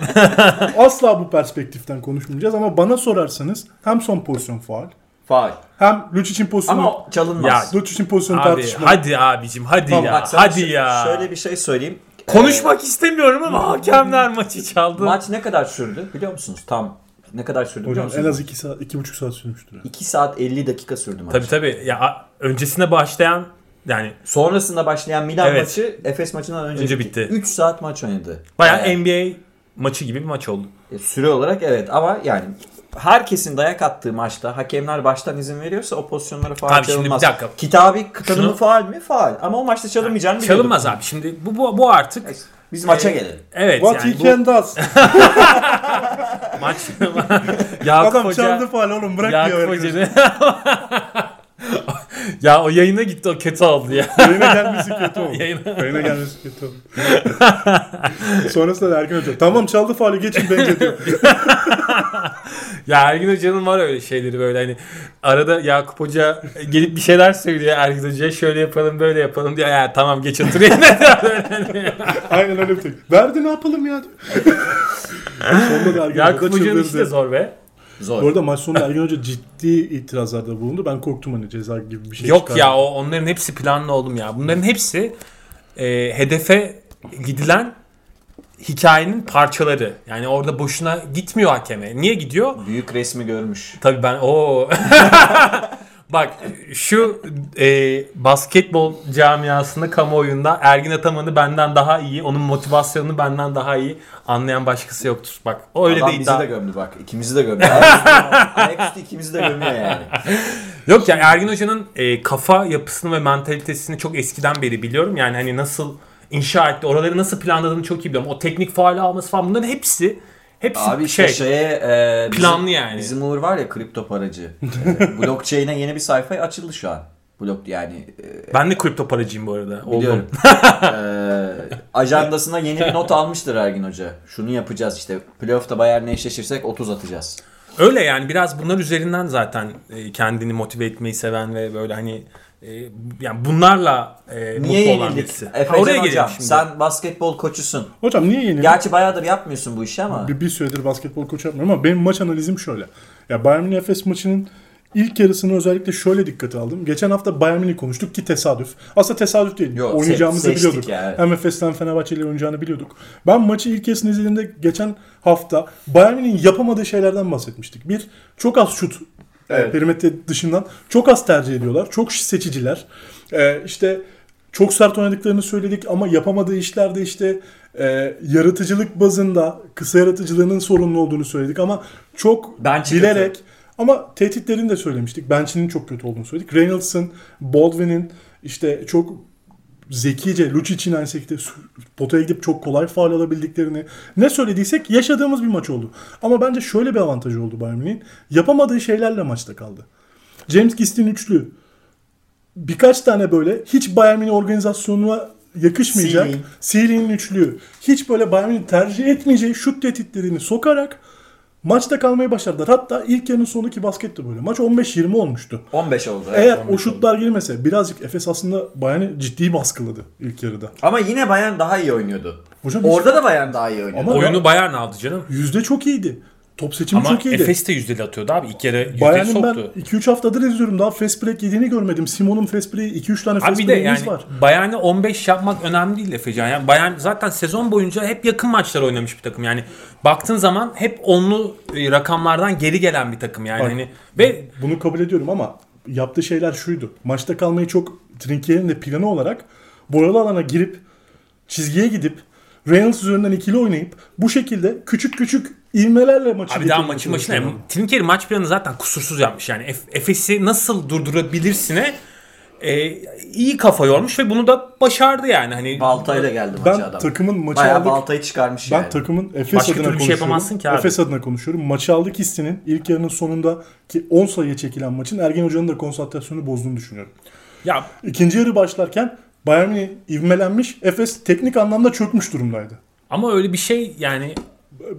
Asla bu perspektiften konuşmayacağız ama bana sorarsanız hem son pozisyon faal
Faal.
hem Lucic'in pozisyonu
Ama çalınmaz.
Lucic'in pozisyonu
abi
tartışma.
hadi abicim hadi
Tamam,
ya.
Bak sana
hadi
şö-
ya.
Şöyle bir şey söyleyeyim.
Konuşmak istemiyorum ama hakemler maçı çaldı.
Maç ne kadar sürdü biliyor musunuz? Tam ne kadar sürdü biliyor
Hocam
musunuz?
en az 2 saat 2,5 saat sürmüştür. yani.
2 saat 50 dakika sürdü maç.
Tabii tabii. Ya a- öncesine başlayan yani
Sonrasında başlayan Milan
Evet.
maçı Efes maçından önce,
Önce bitti.
3 saat maç oynadı.
bayağı
Yani,
NBA maçı gibi bir maç oldu.
e, süre olarak evet ama yani herkesin dayak attığı maçta hakemler baştan izin veriyorsa o pozisyonlara faal
Abi şimdi
çalınmaz.
bir dakika.
Kitabi tanımı
Şunu-
faal mi? Faal. Ama o maçta çalınmayacağını biliyorduk.
Çalınmaz Ee, abi. Şimdi bu bu, bu artık
Biz maça gelelim.
evet
What
yani
he
bu
can
(laughs)
does.
maç
(laughs)
Yakup
Adam
Hoca
çaldı faal oğlum bırak diyor.
Yakup
herkes.
Hoca (laughs) Ya o yayına gitti o kötü oldu ya. (laughs)
Yayına gelmesi kötü oldu.
Yayına-
Yayına gelmesi kötü oldu. (laughs) Sonrasında da Erkan Hoca tamam çaldı faali geçin bence diyor.
Ya Ergin Hoca'nın var öyle şeyleri böyle hani arada Yakup Hoca gelip bir şeyler söylüyor Ergin Hoca'ya şöyle yapalım böyle yapalım diyor. Ya tamam geç otur yerine diyor. (laughs) Böyle hani.
Aynen öyle bir tek. Verdi ne yapalım ya diyor. Sonunda da Ergin Hoca
Yakup
da
Hoca'nın işi de
çıldırdı.
zor be.
Zor.
Bu arada maç sonunda Ergin Hoca ciddi itirazlarda bulundu. Ben korktum hani ceza gibi bir şey
Yok
çıkardı.
ya o onların hepsi planlı oğlum ya. Bunların hepsi e, hedefe gidilen hikayenin parçaları. Yani orada boşuna gitmiyor hakeme. Niye gidiyor?
Büyük resmi görmüş.
Tabii ben o (laughs) Bak şu e, basketbol camiasında kamuoyunda Ergin Ataman'ı benden daha iyi, onun motivasyonunu benden daha iyi anlayan başkası yoktur. Bak o öyle
Adam
değil.
bizi de gömdü bak. İkimizi de
(laughs)
gömdü. Alex de ikimizi de gömüyor yani.
Yok ya Ergin Hoca'nın e, kafa yapısını ve mentalitesini çok eskiden beri biliyorum. Yani hani nasıl inşa etti, oraları nasıl planladığını çok iyi biliyorum. O teknik faali alması falan bunların hepsi hepsi
Abi işte
şey.
şeye e, bizim-
Planlı yani.
Bizim Uğur var ya kripto
(laughs)
paracı. E, blockchain'e yeni bir sayfa açıldı şu an. Blok yani e,
Ben de kripto paracıyım bu arada. Oldum.
biliyorum.
(laughs)
E, ajandasına yeni bir not almıştır Ergin Hoca. Şunu yapacağız işte. Playoff'ta Bayern'le eşleşirsek 30 atacağız.
Öyle yani biraz bunlar üzerinden zaten e, kendini motive etmeyi seven ve böyle hani e, yani bunlarla e,
Niye
mutlu olan
yenildik?
birisi. Ha,
Efecan
oraya
hocam
geliyorum şimdi.
sen basketbol koçusun.
Hocam niye yenildi?
Gerçi bayağıdır yapmıyorsun bu işi ama.
Bir, bir süredir basketbol koçu yapmıyorum ama benim maç analizim şöyle. Ya Bayern Münih Efes maçının ilk yarısını özellikle şöyle dikkate aldım. Geçen hafta Bayern Münih konuştuk ki tesadüf. Aslında tesadüf değil.
Yok,
Oynayacağımızı
se- seçtik
biliyorduk.
yani.
Hem Efes'ten Fenerbahçe ile oynayacağını biliyorduk. Ben maçı ilk yarısını izlediğimde geçen hafta Bayern Münih'in yapamadığı şeylerden bahsetmiştik. Bir, çok az şut
Evet.
e, perimetre dışından çok az tercih ediyorlar. Çok seçiciler. E, işte çok sert oynadıklarını söyledik ama yapamadığı işlerde işte e, yaratıcılık bazında kısa yaratıcılığının sorunlu olduğunu söyledik ama çok
Ben çıkıntı.
bilerek ama tehditlerini de söylemiştik. Bench'inin çok kötü olduğunu söyledik. Reynolds'ın, Baldwin'in işte çok zekice Lucic'in aynı şekilde sü- potaya gidip çok kolay faal alabildiklerini ne söylediysek yaşadığımız bir maç oldu. Ama bence şöyle bir avantajı oldu Bayern Münih'in. Yapamadığı şeylerle maçta kaldı. James Gist'in üçlü birkaç tane böyle hiç Bayern Münih organizasyonuna yakışmayacak
Sealing.
Sealing'in üçlüğü hiç böyle Bayern Münih tercih etmeyeceği şut tehditlerini sokarak maçta kalmayı başardılar. Hatta ilk yarının sonundaki basket de böyle. Maç 15-20 olmuştu.
15 oldu. evet,
Eğer
15
o
oldu.
şutlar girmese birazcık Efes aslında Bayern'i ciddi baskıladı ilk yarıda.
Ama yine Bayern daha iyi oynuyordu.
Hocam hiç-
Orada da Bayern daha iyi oynuyordu.
Ama-
Oyunu Bayern aldı canım.
Yüzde çok iyiydi. Top seçimi
Ama
çok iyiydi.
Efes de yüzdeli atıyordu abi. İlk yere yüzdeli
Bayern'in ben
soktu.
2-3 haftadır izliyorum. Daha fast break yediğini görmedim. Simon'un fast break'i 2-3 tane
Abi
fast
bir de
break'imiz
yani
var.
Bayern'e 15 yapmak önemli değil Efecan. Yani Bayern zaten sezon boyunca hep yakın maçlar oynamış bir takım. Yani baktığın zaman hep onlu e, rakamlardan geri gelen bir takım yani.
Bak.
Hani ve
Bunu kabul ediyorum ama yaptığı şeyler şuydu. Maçta kalmayı çok Trinkier'in de planı olarak boyalı alana girip çizgiye gidip Reynolds üzerinden ikili oynayıp bu şekilde küçük küçük ivmelerle maçı
Abi daha
getirmeye
maçın başına.
çalışıyorlar.
Trinkeri maç planı zaten kusursuz yapmış. Yani Ef- Efes'i nasıl durdurabilirsine e, iyi kafa yormuş ve bunu da başardı yani. Hani
Baltayla geldi
Ben
maçı adam.
takımın maçı
Bayağı
aldık.
baltayı çıkarmış
Ben
yani.
takımın Efes
Başka
adına
türlü bir şey
konuşuyorum.
yapamazsın ki abi.
Efes adına konuşuyorum. Maçı aldık hissinin ilk yarının sonunda ki 10 sayıya çekilen maçın Ergen Hoca'nın da konsantrasyonu bozduğunu düşünüyorum.
ya
İkinci yarı başlarken Bayern Münih ivmelenmiş, Efes teknik anlamda çökmüş durumdaydı.
ama öyle bir şey yani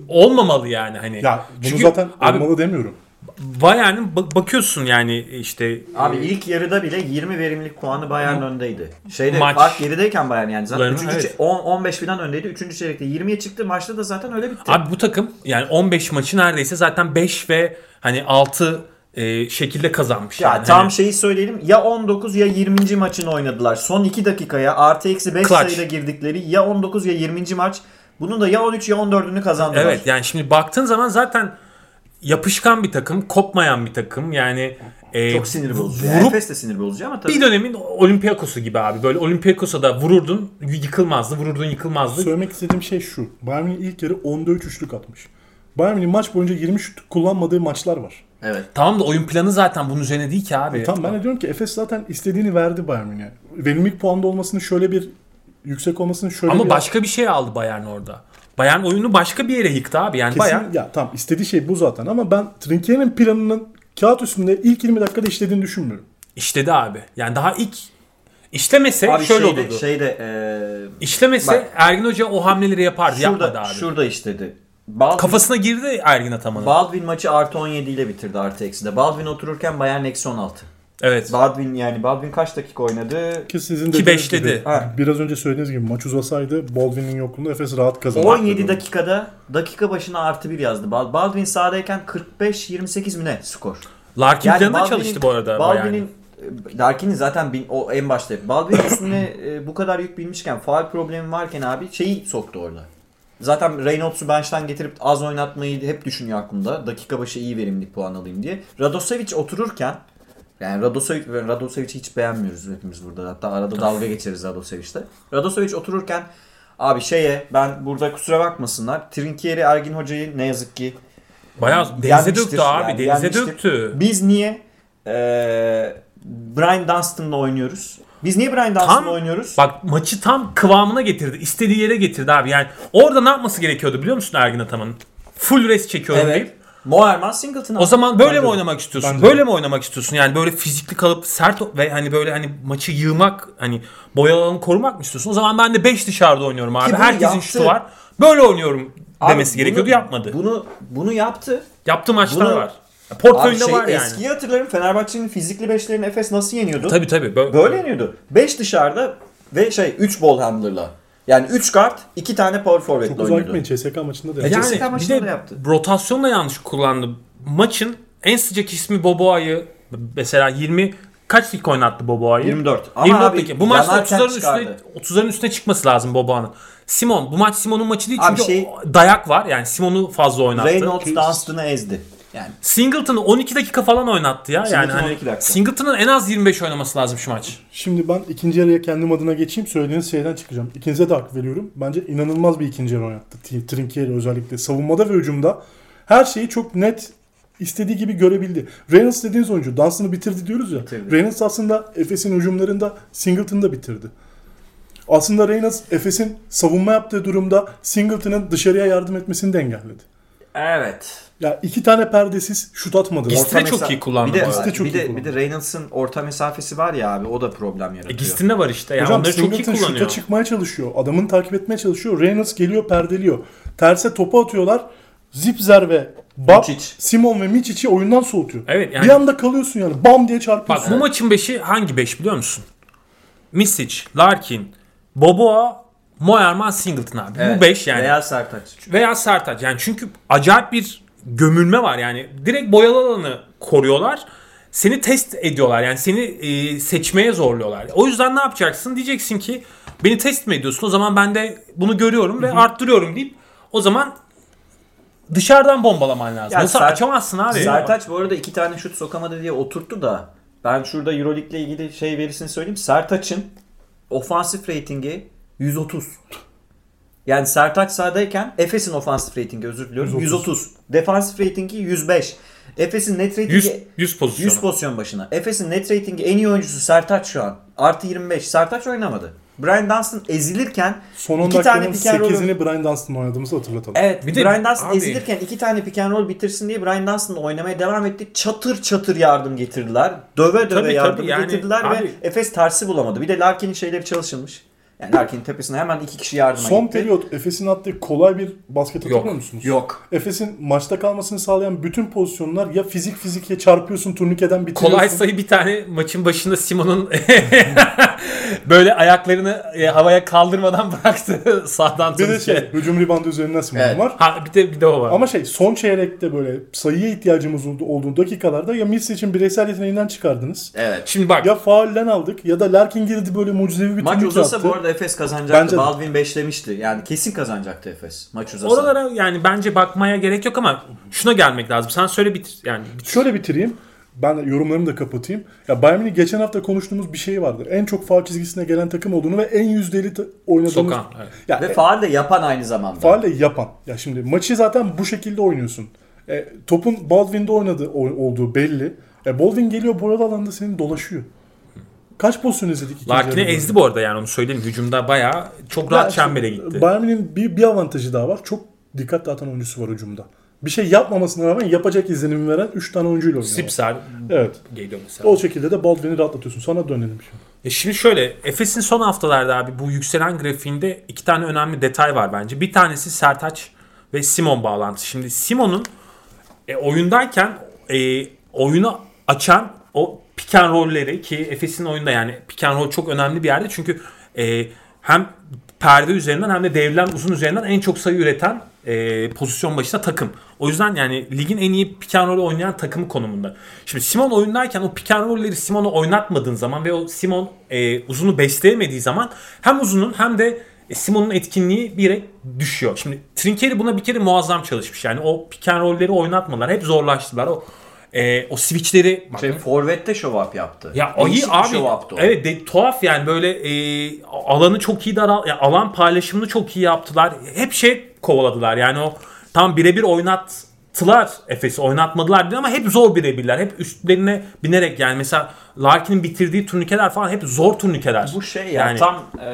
olmamalı yani hani.
Ya bunu
Çünkü
zaten
abi
olmalı demiyorum.
Bayern'in bak- bakıyorsun yani işte
Abi ilk yarıda bile 20 verimlilik puanı Bayern öndeydi. Şeyde
Maç-
fark gerideyken Bayern yani zaten
Ulan,
3.
evet.
10 15 falan öndeydi. 3. çeyrekte 20'ye çıktı. Maçta da zaten öyle bitti.
Abi bu takım yani 15 maçı neredeyse zaten 5 ve hani 6 e, şekilde kazanmış.
ya
yani.
tam
Hani
şeyi söyleyelim. Ya 19 ya 20. maçını oynadılar. Son 2 dakikaya artı eksi 5
Clutch.
sayıda girdikleri ya 19 ya 20. maç. Bunun da ya 13 ya 14'ünü kazandılar.
Evet yani şimdi baktığın zaman zaten yapışkan bir takım, kopmayan bir takım. Yani e,
Çok sinir bozucu.
vurup
Yani Efes de sinir bozucu ama tabii.
bir dönemin Olympiakos'u gibi abi. Böyle Olympiakos'a da vururdun, yıkılmazdı, vururdun, yıkılmazdı.
Söylemek istediğim şey şu. Bayern Münih ilk yarı 10'da 3 üçlük atmış. Bayern Münih maç boyunca 20 şut kullanmadığı maçlar var.
Evet.
Tamam da oyun planı zaten bunun üzerine değil ki
E,
abi.
Tamam ben de diyorum ki Efes zaten istediğini verdi Bayern Münih'e. Verimlilik puanda olmasının şöyle bir yüksek olmasının şöyle
Ama
bir
başka bir şey aldı Bayern orada. Bayern oyunu başka bir yere yıktı abi. Yani
Kesin,
Bayern
ya tamam istediği şey bu zaten ama ben Trinkier'in planının kağıt üstünde ilk 20 dakikada işlediğini düşünmüyorum.
İşledi abi. Yani daha ilk işlemese
Abi
şöyle
şeyde,
olurdu.
şeyde e,
İşlemese
Bak.
Ergin Hoca o hamleleri yapardı. yapmadı
şurada,
abi.
şurada işledi. Baldwin,
Kafasına girdi Ergin Ataman'ın.
Baldwin maçı artı 17 ile bitirdi artı ekside. Baldwin otururken Bayern eksi 16.
evet.
Baldwin yani Baldwin kaç dakika oynadı?
Ki sizin
Ki
dediğiniz
beşledi.
gibi,
Ha.
biraz önce söylediğiniz gibi maç uzasaydı Baldwin'in yokluğunda Efes rahat kazanırdı.
17 dakikada dakika başına artı 1 yazdı. Bal- Baldwin sahadayken 45-28 mi ne skor?
Larkin planında
Baldwin'in-
çalıştı bu arada Bayern.
Baldwin'in e, Larkin'in zaten bin, o en başta. hep. Baldwin'in
(laughs)
üstüne e, bu kadar yük binmişken, faal problemi varken abi şeyi soktu orada. Zaten Reynolds'u bench'ten getirip az oynatmayı hep düşünüyor aklımda. Dakika başı iyi verimlilik puan alayım diye. Radosevic otururken yani Radosevic Radosevic'i hiç beğenmiyoruz hepimiz burada. Hatta arada dalga geçeriz Radosevic'le. Radosevic otururken abi şeye ben burada kusura bakmasınlar. Trinkieri Ergin Hoca'yı ne yazık ki
Bayağı denize
Yenmiştir
döktü abi.
yani,
denize
yenmiştir.
döktü.
Biz niye eee Brian Dunstan'la oynuyoruz? Biz niye Brian
Tam
Dunstan'la oynuyoruz?
Bak maçı tam kıvamına getirdi. İstediği yere getirdi abi. Yani orada ne yapması gerekiyordu biliyor musun Ergin Ataman'ın? Full rest çekiyorum deyip.
evet. Moerman Singleton.
O zaman böyle
Bence
mi
de.
oynamak istiyorsun?
Bence de.
böyle mi oynamak istiyorsun? Yani böyle fizikli kalıp sert o- ve hani böyle hani maçı yığmak, hani boyalı alanı korumak mı istiyorsun? O zaman ben de 5 dışarıda oynuyorum abi.
bunu
Herkesin
yaptı.
şutu var. Böyle oynuyorum
Abi
demesi
bunu-
gerekiyordu yapmadı.
Bunu bunu yaptı.
Yaptığı maçlar
bunu-
var.
Abi
Portföyünde
şey,
var yani. E,
Eskiyi hatırlarım Fenerbahçe'nin fizikli beşlerini Efes nasıl yeniyordu?
Tabii tabii. Böyle,
Böyle yeniyordu. 5 dışarıda ve şey 3 ball handler'la. Yani 3 kart, 2 tane power
Çok
forward'la
uzağa
oynuyordu.
gitmeyin. CSK maçında da.
E
yaptı.
Jessica
Yani bir
maçında
de
da yaptı.
rotasyonla yanlış kullandı. Maçın en sıcak ismi Boboa'yı mesela 20 kaç dakika oynattı Boboa'yı?
24. Ama
24
abi,
dakika. Bu maçta
yanarken
30'ların üstüne,
çıkardı.
30'ların üstüne çıkması lazım Boboa'nın. Simon bu maç Simon'un maçı değil
Abi
çünkü
şey-
o- dayak var. Yani Simon'u fazla oynattı.
Reynolds Dunstan'ı ezdi. Yani
Singleton'ı 12 dakika falan oynattı ya. Yani
Singleton
hani
12 dakika.
Singleton'ın en az 25 oynaması lazım şu maç.
Şimdi ben ikinci yarıya kendim adına geçeyim. Söylediğiniz şeyden çıkacağım. İkinize de hak veriyorum. Bence inanılmaz bir ikinci yarı oynattı. T- Trinkieri özellikle. Savunmada ve hücumda her şeyi çok net istediği gibi görebildi. Reynolds dediğiniz oyuncu dansını bitirdi diyoruz ya.
Bitirdi.
Reynolds aslında Efes'in hücumlarında Singleton'da bitirdi. Aslında Reynolds Efes'in savunma yaptığı durumda Singleton'ın dışarıya yardım etmesini de engelledi.
evet.
Ya iki tane perdesiz şut atmadı.
Gist- Gistine
Orta
çok
mesa-
iyi kullandı
Bir de,
bu arada.
Gistine çok
bir
iyi
de,
kullandı.
bir de Reynolds'ın orta mesafesi var ya abi o da problem
E,
yaratıyor.
Gistin de var işte. Yani
Hocam
onları çok iyi
Singleton şuta
kullanıyor.
çıkmaya çalışıyor. Adamını takip etmeye çalışıyor. Reynolds geliyor perdeliyor. Terse topu atıyorlar. Zipzer ve Bab,
Mičić.
Simon ve Micic'i oyundan soğutuyor.
Evet, yani-
Bir anda kalıyorsun yani. Bam diye
Bak
çarpıyorsun.
bu maçın beşi hangi beş biliyor musun? Misic, Larkin, Boboa, Moerman, Singleton abi. Bu
Evet.
beş yani. Veya,
Veya Sertaç.
Sertaç. Yani çünkü acayip bir gömülme var yani. Direkt boyalı alanı koruyorlar. Seni test ediyorlar yani seni e, seçmeye zorluyorlar. O yüzden ne yapacaksın? Diyeceksin ki beni test mi ediyorsun? O zaman ben de bunu görüyorum ve arttırıyorum deyip o zaman dışarıdan bombalaman lazım.
Ya
Yoksa
Ser-
açamazsın abi.
Sertaç bu arada iki tane şut sokamadı diye oturttu da ben şurada Euroleague'le ilgili şey verisini söyleyeyim. Sertaç'ın ofansif ratingi 130. Yani Sertaç sahadayken Efes'in ofansif ratingi özür diliyorum 130.
130.
Defansif ratingi 105. Efes'in net ratingi
100, 100 pozisyonu.
100 pozisyon başına. Efes'in net ratingi en iyi oyuncusu Sertaç şu an. Artı 25. Sertaç oynamadı. Brian Dunstan ezilirken
Son 10
iki tane
dakikanın
pick and roll'u
8'ini Brian Dunstan oynadığımızı hatırlatalım.
Evet
Bir de-
Brian Dunstan
abi-
ezilirken iki tane pick and roll bitirsin diye Brian Dunstan oynamaya devam etti. Çatır çatır yardım getirdiler. Döve döve
Tabii,
yardım
tabii, yani
getirdiler
abi-
ve Efes tersi bulamadı. Bir de Larkin'in şeyleri çalışılmış. Yani Larkin'in tepesine hemen iki kişi yardıma
Son
gitti.
periyot Efes'in attığı kolay bir basket hatırlıyor musunuz?
Yok.
Efes'in maçta kalmasını sağlayan bütün pozisyonlar ya fizik fizik ya çarpıyorsun turnikeden bitiriyorsun.
Kolay sayı bir tane maçın başında Simon'un (laughs) böyle ayaklarını e, havaya kaldırmadan (laughs) bıraktı sağdan
Bir de şey
(laughs) sonuçta.
hücum ribandı üzerinden Simon
Evet.
var.
Ha bir de bir de o var.
Ama şey son çeyrekte böyle sayıya ihtiyacımız oldu- olduğu dakikalarda ya Mills için bireysel yeteneğinden çıkardınız.
Evet.
Şimdi bak
Ya faulden aldık ya da Larkin girdi böyle mucizevi bir
Maç
turnike
uzasa
attı.
bu arada Efes kazanacaktı.
Bence de.
Baldwin beşlemişti. Yani kesin kazanacaktı Efes maç uzasa.
oralara yani bence bakmaya gerek yok ama şuna gelmek lazım. Sen söyle bitir yani bitir.
Şöyle bitireyim. Ben de yorumlarımı da kapatayım. Ya Bayern'in geçen hafta konuştuğumuz bir şey vardır. En çok faul çizgisine gelen takım olduğunu ve en yüzdeli ta- oynadığımız.
Sokan, evet.
Ya,
Ve faal de yapan aynı zamanda.
Faal de yapan. Ya şimdi maçı zaten bu şekilde oynuyorsun. E, topun Baldwin'de oynadığı o- olduğu belli. E, Baldwin geliyor boyalı alanda senin dolaşıyor. Kaç pozisyon izledik? ikinci
Larkin'i
yarıda?
ezdi bu arada yani onu söyleyeyim. Hücumda bayağı çok rahat
Ya şimdi
çembere gitti.
Bayern Münih'in bir, bir avantajı daha var. Çok dikkat dağıtan oyuncusu var hücumda. bir şey yapmamasına rağmen yapacak izlenimi veren 3 tane oyuncuyla oynuyor.
Sipsel
Evet.
geliyor mesela.
O şekilde de Baldwin'i rahatlatıyorsun. Sana dönelim şimdi.
E şimdi şöyle Efes'in son haftalarda abi bu yükselen grafiğinde iki tane önemli detay var bence. Bir tanesi Sertaç ve Simon bağlantısı. Şimdi Simon'un e, oyundayken e, oyunu açan o pick and roll'leri ki Efes'in oyunda yani pick and roll çok önemli bir yerde. Çünkü e, hem perde üzerinden hem de devrilen uzun üzerinden en çok sayı üreten e, pozisyon başına takım. O yüzden yani ligin en iyi pick and roll oynayan takımı konumunda. Şimdi Simon oyundayken o pick and roll'leri Simon'u oynatmadığın zaman ve o Simon e, uzunu besleyemediği zaman hem uzunun hem de e, Simon'un etkinliği bir yere düşüyor. Şimdi Trinkeri buna bir kere muazzam çalışmış. Yani o pick and roll'leri oynatmalar hep zorlaştılar. O e, o switch'leri bak,
Şey, Forvet'te show up yaptı.
ya ayı
Değişik bir
abi
show up'tı o.
evet de, tuhaf yani böyle e, alanı çok iyi daral ya alan paylaşımını çok iyi yaptılar. Hep şey kovaladılar yani o tam birebir oynattılar Efes'i oynatmadılar değil ama hep zor birebirler. Hep üstlerine binerek yani mesela Larkin'in bitirdiği turnikeler falan hep zor turnikeler.
Bu şey ya
Yani-
tam e,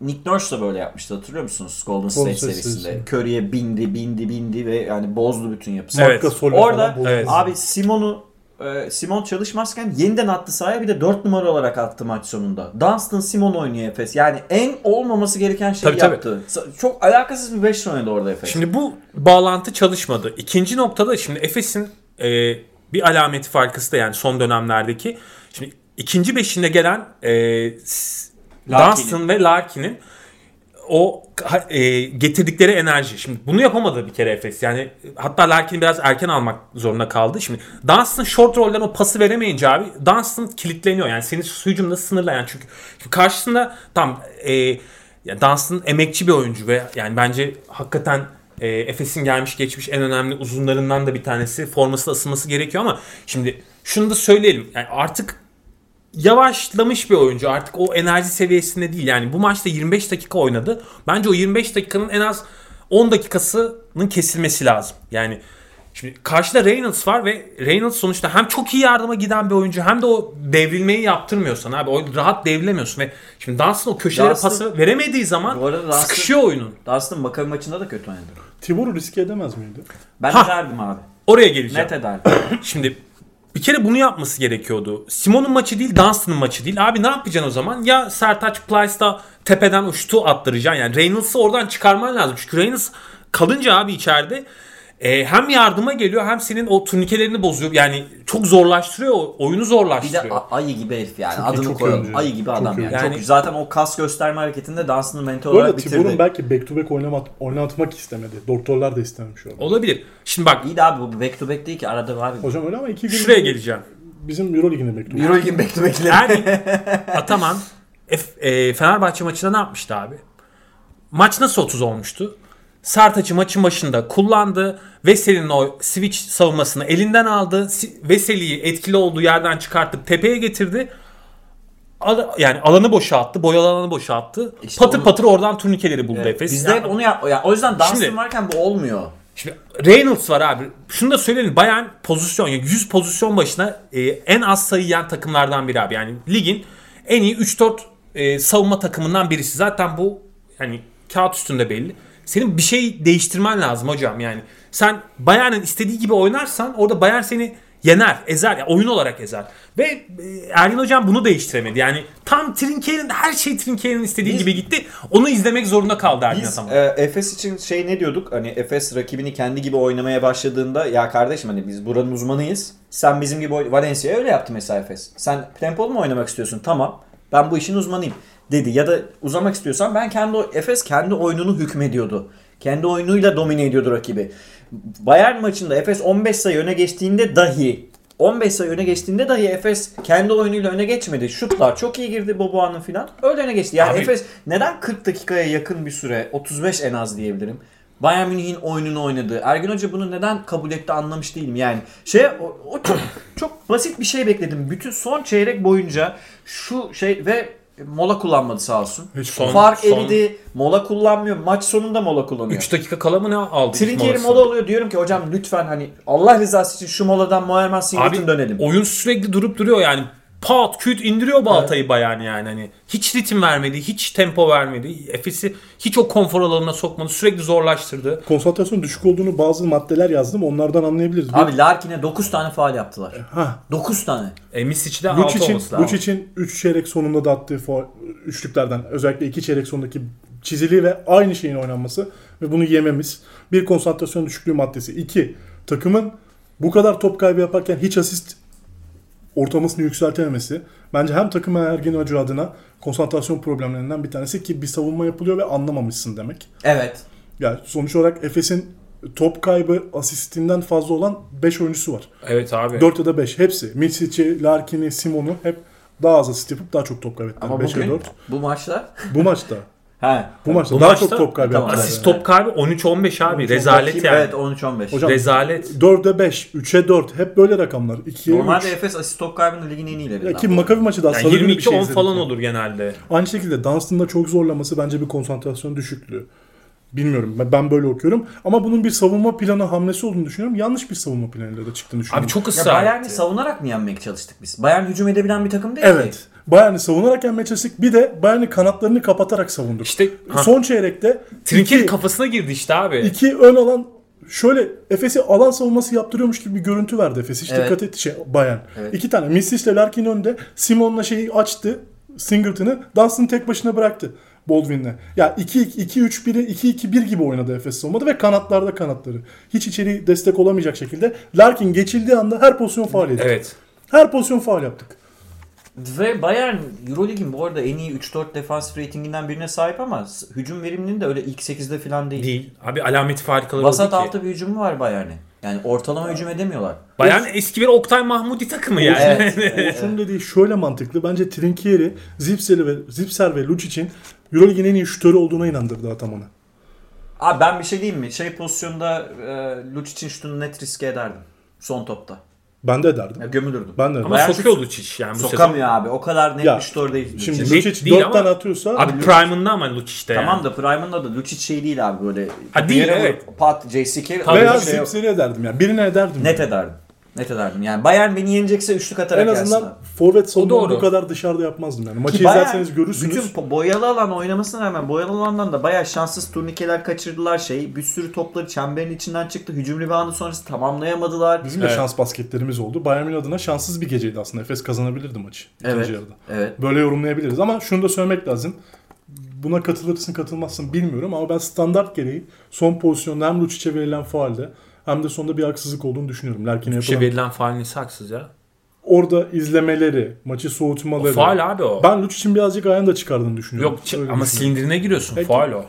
Nick Nurse da böyle yapmıştı hatırlıyor musunuz Golden State,
Golden State
serisinde.
serisinde.
Curry'e bindi bindi bindi ve yani bozdu bütün yapısını.
Evet.
Marka Sol'e
Orada
falan bozuldu.
evet.
abi Simon'u e, Simon çalışmazken yeniden attı sahaya bir de 4 numara olarak attı maç sonunda. Dunstan Simon oynuyor Efes. Yani en olmaması gereken şeyi
Tabii, tabii.
yaptı. Sa- Çok alakasız bir 5 oynadı orada Efes.
Şimdi bu bağlantı çalışmadı. İkinci noktada şimdi Efes'in e, bir alameti farkısı da yani son dönemlerdeki. Şimdi ikinci beşinde gelen e, s-
Larkin'in.
Dunstan ve Larkin'in o ha- e, getirdikleri enerji. Şimdi bunu yapamadı bir kere Efes. Yani hatta Larkin'i biraz erken almak zorunda kaldı. Şimdi Dunstan short roll'den o pası veremeyince abi Dunstan kilitleniyor. Yani seni hücumda sınırlayan çünkü, çünkü karşısında tam e, ya Dunstan emekçi bir oyuncu ve yani bence hakikaten e, Efes'in gelmiş geçmiş en önemli uzunlarından da bir tanesi. Forması da asılması gerekiyor ama şimdi şunu da söyleyelim. Yani artık yavaşlamış bir oyuncu. Artık o enerji seviyesinde değil. Yani bu maçta 25 dakika oynadı. Bence o 25 dakikanın en az 10 dakikasının kesilmesi lazım. Yani şimdi karşıda Reynolds var ve Reynolds sonuçta hem çok iyi yardıma giden bir oyuncu hem de o devrilmeyi yaptırmıyor sana abi. O rahat devrilemiyorsun ve şimdi Dunstan o köşelere
Dunstan-
pası veremediği zaman
Bu arada Dunstan-
sıkışıyor oyunun.
Dunstan Maccabi maçında da kötü oynadı.
Tibur'u riske edemez miydi?
Ben
Ha.
ederdim abi.
Oraya geleceğim.
Net ederdim.
Şimdi bir kere bunu yapması gerekiyordu. Simon'un maçı değil, Dunstan'ın maçı değil. Abi ne yapacaksın o zaman? Ya Sertaç Plyce'da tepeden uçtu attıracaksın. Yani Reynolds'ı oradan çıkarman lazım. Çünkü Reynolds kalınca abi içeride e, hem yardıma geliyor hem senin o turnikelerini bozuyor. Yani çok zorlaştırıyor. o- Oyunu
Bir
zorlaştırıyor.
de a- ayı gibi herif yani.
Çok iyi,
Adını
çok iyi
koyalım.
oyuncu.
Ayı gibi
Çok
adam
iyi.
yani.
Yani-
Çok, zaten o kas gösterme hareketinde dansını mental
Bu arada
olarak bitirdi.
Tibur'un belki back to back oynamat, oynatmak istemedi. Doktorlar da istememiş oldu.
Olabilir. Şimdi bak
İyi de abi bu back to back değil ki arada var abi.
Hocam öyle ama iki gün
şuraya geleceğim.
bizim Euroleague'in de back to back.
Euroleague'in back to back'leri.
Ergin Ataman F- e, Fenerbahçe maçında ne yapmıştı abi? Maç nasıl 30 olmuştu? Sertaç'ı maçın başında kullandı. Veseli'nin o switch savunmasını elinden aldı. Si- Veseli'yi etkili olduğu yerden çıkartıp tepeye getirdi. Al- yani alanı boşalttı. Boyalı alanı boşalttı.
İşte
patır
onu-
patır oradan turnikeleri buldu Efes.
Bizde hep
Yani-
onu yap. ya o yüzden
Şimdi-
dansın varken bu olmuyor.
Şimdi Reynolds var abi. Şunu da söyleyelim. Bayern pozisyon yani 100 pozisyon başına e, en az sayı yiyen takımlardan biri abi. Yani ligin en iyi 3-4 e, savunma takımından birisi. Zaten bu hani kağıt üstünde belli. Senin bir şey değiştirmen lazım hocam yani. Sen Bayern'in istediği gibi oynarsan orada Bayern seni yener, ezer. Yani oyun olarak ezer. Ve e, Ergin hocam bunu değiştiremedi. Yani tam Trinke'nin her şey Trinke'nin istediği gibi gitti. Onu izlemek zorunda kaldı Ergin
Biz
Ataman.
e, Efes için şey ne diyorduk? Hani Efes rakibini kendi gibi oynamaya başladığında ya kardeşim hani biz buranın uzmanıyız. Sen bizim gibi oyn- Valencia öyle yaptı mesela Efes. Sen tempolu mu oynamak istiyorsun? Tamam. Ben bu işin uzmanıyım dedi. Ya da uzamak istiyorsan ben kendi o- Efes kendi oyununu hükmediyordu. Kendi oyunuyla domine ediyordu rakibi. Bayern maçında Efes 15 sayı öne geçtiğinde dahi 15 sayı öne geçtiğinde dahi Efes kendi oyunuyla öne geçmedi. Şutlar çok iyi girdi Boboğan'ın filan. Öyle öne geçti. Yani
Abi-
Efes neden 40 dakikaya yakın bir süre 35 en az diyebilirim. Bayern Münih'in oyununu oynadı. Ergin Hoca bunu neden kabul etti anlamış değilim. Yani şey o, o çok, çok basit bir şey bekledim. Bütün son çeyrek boyunca şu şey ve mola kullanmadı sağ olsun.
Hiç
Son-
Fark
son-
eridi. Mola kullanmıyor. Maç sonunda mola kullanıyor.
3 dakika kala mı ne aldı? ilk
Trinkeri
molasını?
mola oluyor. Diyorum ki hocam lütfen hani Allah rızası için şu moladan Muammer Singleton dönelim.
oyun sürekli durup duruyor yani. pat küt indiriyor baltayı Bayern yani hani hiç ritim vermedi, hiç tempo vermedi. Efes'i hiç o konfor alanına sokmadı. Sürekli zorlaştırdı.
Konsantrasyon düşük olduğunu bazı maddeler yazdım. Onlardan anlayabiliriz.
Abi Larkin'e 9 tane faal yaptılar.
Ha.
9 tane.
E, Misic'de 6
Luç için,
olması lazım.
Luç için 3 çeyrek sonunda da attığı faul- üçlüklerden özellikle 2 çeyrek sonundaki çizili ve aynı şeyin oynanması ve bunu yememiz. Bir konsantrasyon düşüklüğü maddesi. 2. Takımın bu kadar top kaybı yaparken hiç asist ortalamasını yükseltememesi. Bence hem takım ergeni acı adına konsantrasyon problemlerinden bir tanesi ki bir savunma yapılıyor ve anlamamışsın demek.
Evet.
Yani sonuç olarak Efes'in top kaybı asistinden fazla olan 5 oyuncusu var.
Evet abi.
4 ya da 5 hepsi. Milsic'i, Larkin'i, Simon'u hep daha az asist yapıp daha çok top kaybettiler.
Ama
5 ya
bugün
4.
bu maçta
Bu maçta.
he.
Bu maçta
Bu
daha
maçta-
çok top kaybı
Tamam.
yaptılar.
Asist top kaybı 13-15 abi. Rezalet yani.
Evet 13 15.
Hocam-
Rezalet.
4'e 5, 3'e 4 hep böyle rakamlar. 2'ye 3.
Normalde Efes asist top kaybında ligin en iyilerinden.
Ya ki Makabi maçı da
Yani
aslında
22-10
bir şey izledik.
falan olur genelde.
Aynı şekilde Dunstan'da çok zorlaması bence bir konsantrasyon düşüklüğü. Bilmiyorum ben- ben böyle okuyorum. Ama bunun bir savunma planı hamlesi olduğunu düşünüyorum. Yanlış bir savunma planıyla da çıktığını düşünüyorum.
Abi çok
Ya
ısrar
Bayern'i
etti.
savunarak mı yenmek çalıştık biz? Bayern hücum edebilen bir takım değil ki.
Evet. Bayern'i savunarak yenmeye çalıştık. Bir de Bayern'i kanatlarını kapatarak savunduk.
İşte ha,
Son çeyrekte
Trinket
iki-
kafasına girdi işte abi.
İki ön alan şöyle Efes'i alan savunması yaptırıyormuş gibi bir görüntü verdi Efes. Hiç
Evet.
dikkat etti şey bayan.
Evet.
İki tane Misic'le Larkin önde. Simon'la şeyi açtı. Singleton'ı. Dunstan tek başına bıraktı. Baldwin'le. Ya 2-2-3-1'i 2-2-1 gibi oynadı Efes savunmada ve kanatlarda kanatları. Hiç içeri destek olamayacak şekilde. Larkin geçildiği anda her pozisyon faal yedi.
Evet.
Her pozisyon faal yaptık.
(laughs) Ve Bayern Eurolig'in bu arada en iyi 3-4 defans ratinginden birine sahip ama s- hücum verimliliğinin de öyle ilk 8'de falan değil.
Değil. Abi alameti farikaları
Vasat
oldu ki.
altı bir hücumu var Bayern'in. Yani ortalama hücum edemiyorlar.
Bayern eski bir Oktay Mahmudi takımı yani.
Evet.
Oğuzhan'ın dediği şöyle mantıklı. Bence Trinkieri, Zipser ve, Zipser ve Lucic'in Euroleague'in en iyi şutörü olduğuna inandırdı adam ona.
Abi ben bir şey diyeyim mi? Şey pozisyonda e, Lucic'in şutunu net riske ederdim. Son topta.
Ben de ederdim.
Ya gömülürdüm.
Ben de
Ama
Bayern
sokuyor Lucic yani bu sezon.
Sokamıyor abi. O kadar net
Ya,
bir şutör değil. Lucic.
Şimdi
Lucic
Lucic
değil
4
ama-
tane atıyorsa
Abi hani prime'ında ama Lucic'te
Tamam
yani.
da Prime'ın da Lucic şey değil abi böyle.
Ha, değil,
Yere vurup
evet.
Pat JCK.
Tabii
öyle
veya
bir
bir
şey yok.
Zipser'i ederdim yani. Birine ederdim.
Net
yani.
ederdim. Net ederdim. Yani Bayern beni yenecekse üçlük atarak
En azından
gelsin abi.
forvet savunmanı
doğru.
bu kadar dışarıda yapmazdım yani. Maçı
Ki Bayern
izlerseniz görürsünüz.
Bütün po- boyalı alan oynamasına rağmen boyalı alandan da bayağı şanssız turnikeler kaçırdılar şey. Bir sürü topları çemberin içinden çıktı. Hücum ribandı sonrası tamamlayamadılar.
Bizim de
Evet.
şans basketlerimiz oldu. Bayern'in adına şanssız bir geceydi aslında. Efes kazanabilirdi maçı ikinci
Evet.
yarıda.
Evet.
Böyle yorumlayabiliriz ama şunu da söylemek lazım. Buna katılırsın katılmazsın bilmiyorum ama ben standart gereği son pozisyonda hem Lucic'e verilen faalde hem de sonunda bir haksızlık olduğunu düşünüyorum. Larkin'e
Bir şey
yapılan.
verilen faal nesi haksız ya.
Orada izlemeleri, maçı soğutmaları.
Faal abi o.
Ben Lucic'in birazcık ayağını da çıkardığını düşünüyorum.
Yok çı-
Öyle
ama
düşünüyorum.
sindirine giriyorsun.
Peki.
Faal o.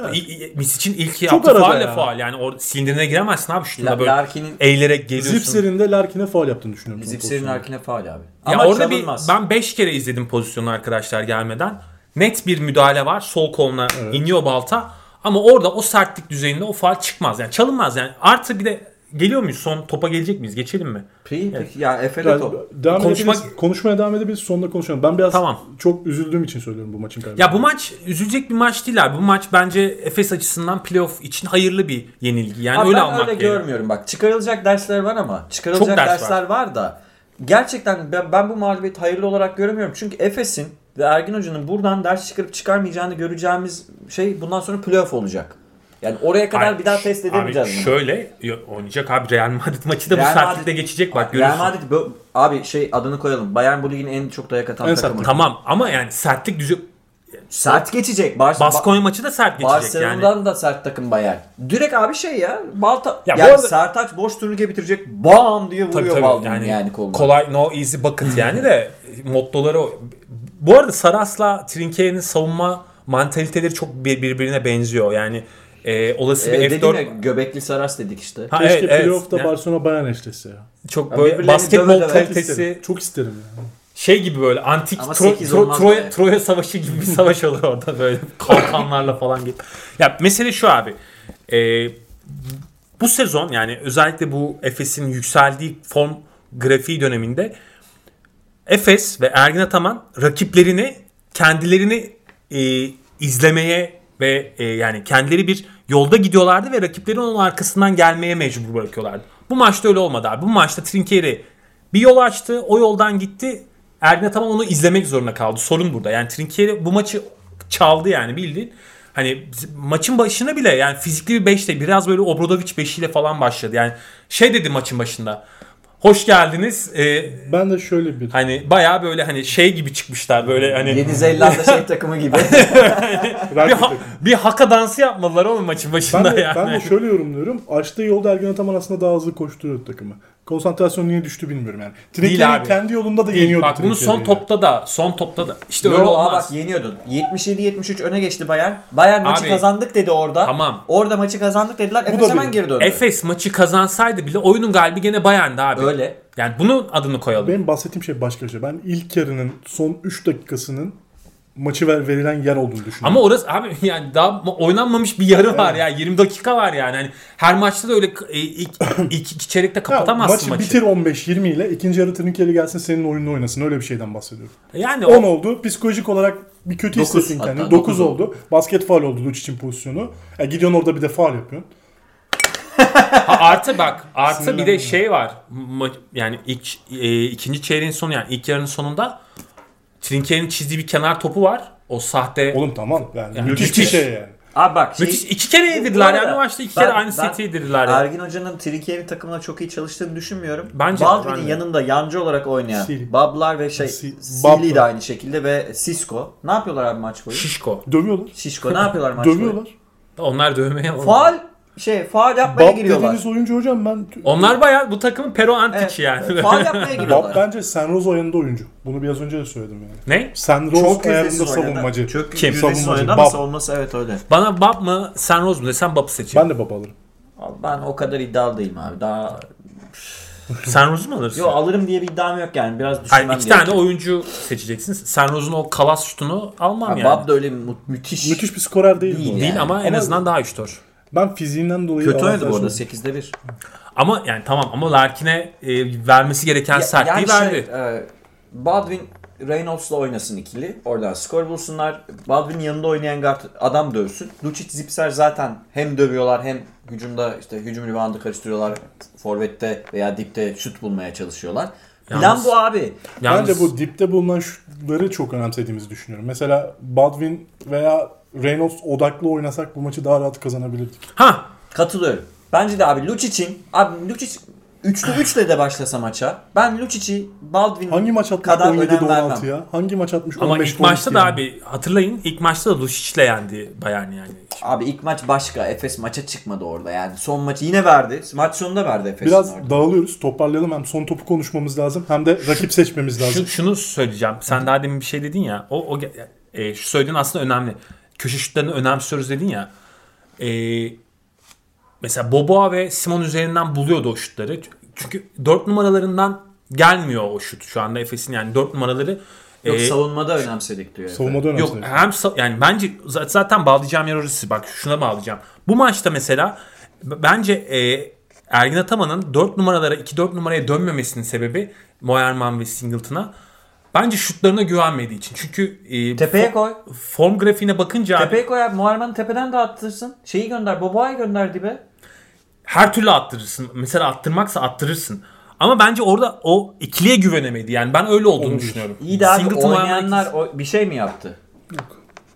Evet.
İ- i- Mis için ilk yaptığı
arada
faal
ya.
de faal. Yani or sindirine giremezsin abi şutuna
La-
böyle
Larkin'in
eğilerek geliyorsun.
Zipser'in de Larkin'e faal yaptığını düşünüyorum. son
Zipser'in
pozisyonda.
arkine faal abi.
Ya
Ama
orada bir
çalınmaz.
ben 5 kere izledim pozisyonu arkadaşlar gelmeden. Net bir müdahale var. Sol koluna iniyor balta. Ama orada o sertlik düzeyinde o faal çıkmaz. Yani çalınmaz yani. Artı bir de geliyor muyuz? Son topa gelecek miyiz? Geçelim mi?
Peki, peki. ya Efe de
Yani
top.
devam
Konuşma-
edebiliriz. Konuşmaya devam edebiliriz. Sonunda konuşalım. Ben biraz
Tamam.
çok üzüldüğüm için söylüyorum bu maçın kaybı.
Ya bu maç üzülecek bir maç değil abi. Bu maç bence Efes açısından playoff için hayırlı bir yenilgi. Yani
Abi
öyle
ben
almak
öyle
gerekiyor.
görmüyorum. Bak çıkarılacak dersler var ama çıkarılacak
Çok ders var.
dersler var. da gerçekten ben, ben bu mağlubiyeti hayırlı olarak göremiyorum. Çünkü Efes'in ve Ergin Hoca'nın buradan ders çıkarıp çıkarmayacağını göreceğimiz şey bundan sonra playoff olacak. Yani oraya kadar
Hayır,
bir daha test
ş-
edemeyeceğiz.
Abi
bunu.
şöyle yo- oynayacak abi Real Madrid maçı da bu
Real
sertlikte
Madrid-
geçecek bak
Real
görürsün.
Madrid bu- abi şey adını koyalım. Bayern bu ligin en çok dayak atan
En
takımı.
sert
Tamam ama yani sertlik düzü
Sert geçecek. Bas
Baskonya maçı da sert geçecek
Barcelona'dan
yani.
da sert takım Bayern. Direkt abi şey ya. Balta
Ya bu
yani
arada-
Sertaç boş turnike bitirecek. Bam diye vuruyor Baldwin yani, koluna.
kolay no easy
(laughs)
bucket yani de mottoları o. Bu arada Saras'la Trinkey'nin savunma mantaliteleri çok bir- birbirine benziyor. Yani e, olası bir
E, dedim
F4
ya, göbekli Saras dedik işte.
Ha,
Keşke
evet, evet.
playoff'ta
Ya,
Barcelona Bayern eşleşse ya.
çok
Ya
böyle
birbirlerini döve
basketbol
döve
kalitesi
İsterim. Çok isterim yani.
şey gibi böyle antik
Ama
Tro-
sekiz
Tro-
olmaz
Troya,
be.
Troya savaşı gibi bir savaş olur orada
(laughs)
böyle kalkanlarla falan gibi. Ya mesele şu abi. Ee, bu sezon yani özellikle bu Efes'in yükseldiği form grafiği döneminde Efes ve Ergin Ataman rakiplerini kendilerini e, izlemeye ve e, yani kendileri bir yolda gidiyorlardı ve rakipleri onun arkasından gelmeye mecbur bırakıyorlardı. Bu maçta öyle olmadı abi. Bu maçta Trinkieri bir yol açtı, o yoldan gitti. Ergin Ataman onu izlemek zorunda kaldı. Sorun burada. Yani Trinkieri bu maçı çaldı yani bildiğin. Hani maçın başına bile yani fizikli bir beşle biraz böyle Obradovic beşiyle falan başladı. Yani şey dedi maçın başında. Hoş geldiniz. Ee,
Ben de şöyle bir
hani bayağı böyle hani şey gibi çıkmışlar böyle hani
Yeni
(laughs)
Zelanda şey takımı gibi.
Rakip
bir, ha-
takım.
bir haka dansı yapmadılar ama maçın başında
ben de,
yani.
ben de şöyle yorumluyorum. Açtığı yolda Ergen Ataman aslında daha hızlı koşturuyordu takımı. Konsantrasyon niye düştü bilmiyorum yani.
Değil
Trinkieri
abi.
kendi yolunda da yeniyordu.
Bak bunu
Trinkeri'yi
son
yani.
topta da son topta da işte öyle
Yo, aa
olmaz.
bak yeniyordun. 77-73 öne geçti Bayern. Bayern maçı
Abi,
kazandık dedi orada.
tamam.
Orada maçı kazandık dediler. Efes
da
hemen
bir-
geri döndü.
Efes maçı kazansaydı bile oyunun galibi gene Bayern'di abi.
Öyle.
Yani bunun adını koyalım.
Benim bahsettiğim şey başka bir şey. Ben ilk yarının son 3 dakikasının maçı ver, verilen yer olduğunu düşünüyorum.
Ama orası abi yani daha ma- oynanmamış bir yarı var ya. 20 dakika var yani. Hani her maçta da öyle e,
(coughs)
ilk, ilk iki çeyrekte
Ya,
kapatamazsın maçı.
bitir 15-20 ile ikinci yarı Trinkeri gelsin senin oyununu oynasın. Öyle bir şeyden bahsediyorum.
Yani
10
o,
oldu. Psikolojik olarak bir kötü
Dokuz
hissettin kendini. 9
hatta, dokuz
oldu. Basket faal oldu Luç için pozisyonu. E, gidiyorsun orada bir de faal yapıyorsun.
ha, artı bak artı bir de
Sinirlendim.
şey var. Ma- yani ilk e, ikinci çeyreğin sonu yani ilk yarının sonunda Trinkeri'nin çizdiği bir kenar topu var. O sahte
Oğlum tamam. Yani,
Yani
müthiş, bir
müthiş.
şey yani.
Abi bak. şey-
Müthiş. iki kere yedirdiler
Bu arada
yani bu maçta iki
ben-
kere aynı
ben-
seti yedirdiler yani.
Ergin Hoca'nın Trikieri takımına çok iyi çalıştığını düşünmüyorum.
Bence de,
Baldwin'in
bence de.
yanında yancı olarak oynayan
Sili.
Bablar ve şey
Si-
Sili de
Bablar.
aynı şekilde ve Sisko. Ne yapıyorlar abi maç boyu?
Şişko.
Dövüyorlar.
(laughs)
Şişko ne yapıyorlar maç boyu?
Dövüyorlar.
Onlar dövmeye oldu.
Faal şey faal yapmaya
Bab
giriyorlar.
dediğiniz oyuncu hocam ben...
Onlar bayağı bu takımın Pero Antic
Evet,
yani. (laughs)
faal yapmaya
Bab
giriyorlar.
bence Senroz ayarında oyuncu. Bunu biraz önce de söyledim yani.
ne?
Senroz ayarında
oynadı.
savunmacı.
Çok
Kim?
yüzdesiz oynadı
Savunmacı.
ama
Bab.
savunması evet öyle.
Bana Bob mı Sen Rose mu desem Bob'u seçerim.
Ben de baba alırım.
Abi Ben o kadar iddialı değilim abi. Daha
Sen Rose'u mu alırsın?
Yo alırım diye bir iddiam yok yani. Biraz düşünmem
Hayır,
gerekiyor.
iki tane oyuncu seçeceksin. Sen Rose'un o kalas şutunu almam
Ha,
yani.
Bab da öyle mu- müthiş.
Müthiş bir skorer değil,
Değil
bu.
Değil
yani.
ama en
Ama-
azından daha üçtör.
Ben fiziğinden dolayı...
Kötü oynadı bu
avantajlı
arada
oldum.
8'de 1.
Ama yani tamam ama Larkin'e e, vermesi gereken sertliği verdi.
Şey, e, Baldwin Reynolds'la oynasın ikili. Oradan skor bulsunlar. Baldwin yanında oynayan guard adam dövsün. Lucic Zipser zaten hem dövüyorlar hem hücumda işte hücum ribandı karıştırıyorlar. Forvet'te veya dipte şut bulmaya çalışıyorlar.
Yalnız-
Plan bu abi.
Yalnız
Bence bu dipte bulunan şutları çok önemsediğimizi düşünüyorum. Mesela Baldwin veya Reynolds odaklı oynasak bu maçı daha rahat kazanabilirdik.
ha
Katılıyorum. Bence de abi Lucic'in abi Lucic üçlü üçle de başlasa maça. Ben Lucic'i Baldwin
Hangi maç atmış
kadar
17'de
önem vermem.
16 ya? Hangi maç atmış
ama
15'te
ilk maçta
12
da
yani?
abi hatırlayın ilk maçta da Lucic'le yendi Bayern yani.
Abi ilk maç başka. Efes maça çıkmadı orada yani. Son maçı yine verdi. Maç sonunda verdi Efes'in
Biraz
orada.
dağılıyoruz. Toparlayalım. Hem son topu konuşmamız lazım hem de rakip seçmemiz lazım.
Şu, şunu söyleyeceğim. Sen daha demin bir şey dedin ya. O, o ge- e, şu söylediğin aslında önemli. Köşe şutlarını önemsiyoruz dedin ya. E, mesela Boboa ve Simon üzerinden buluyordu o şutları. Çünkü 4 numaralarından gelmiyor o şut şu anda Efes'in. Yani 4 numaraları
Yok
e,
savunmada önemsedik diyor. Efe.
Savunmada önemli.
Yok hem sa- yani bence z- zaten bağlayacağım yer orası. Bak şuna bağlayacağım. Bu maçta mesela b- bence e, Ergin Ataman'ın 4 numaralara 2-4 numaraya dönmemesinin sebebi Moerman ve Singleton'a bence şutlarına güvenmediği için. Çünkü e,
Tepeye koy.
fo- form grafiğine bakınca abi
Tepeye koy abi. Muharman'ı tepeden de attırsın. Şeyi gönder. Boboa'yı gönder dibe.
her türlü attırırsın. Mesela attırmaksa attırırsın. Ama bence orada o ikiliye güvenemedi. Yani ben öyle olduğunu düşünüyorum.
İyi de abi
Singleton, Moerman
oynayanlar
ikisi-
o, bir şey mi yaptı?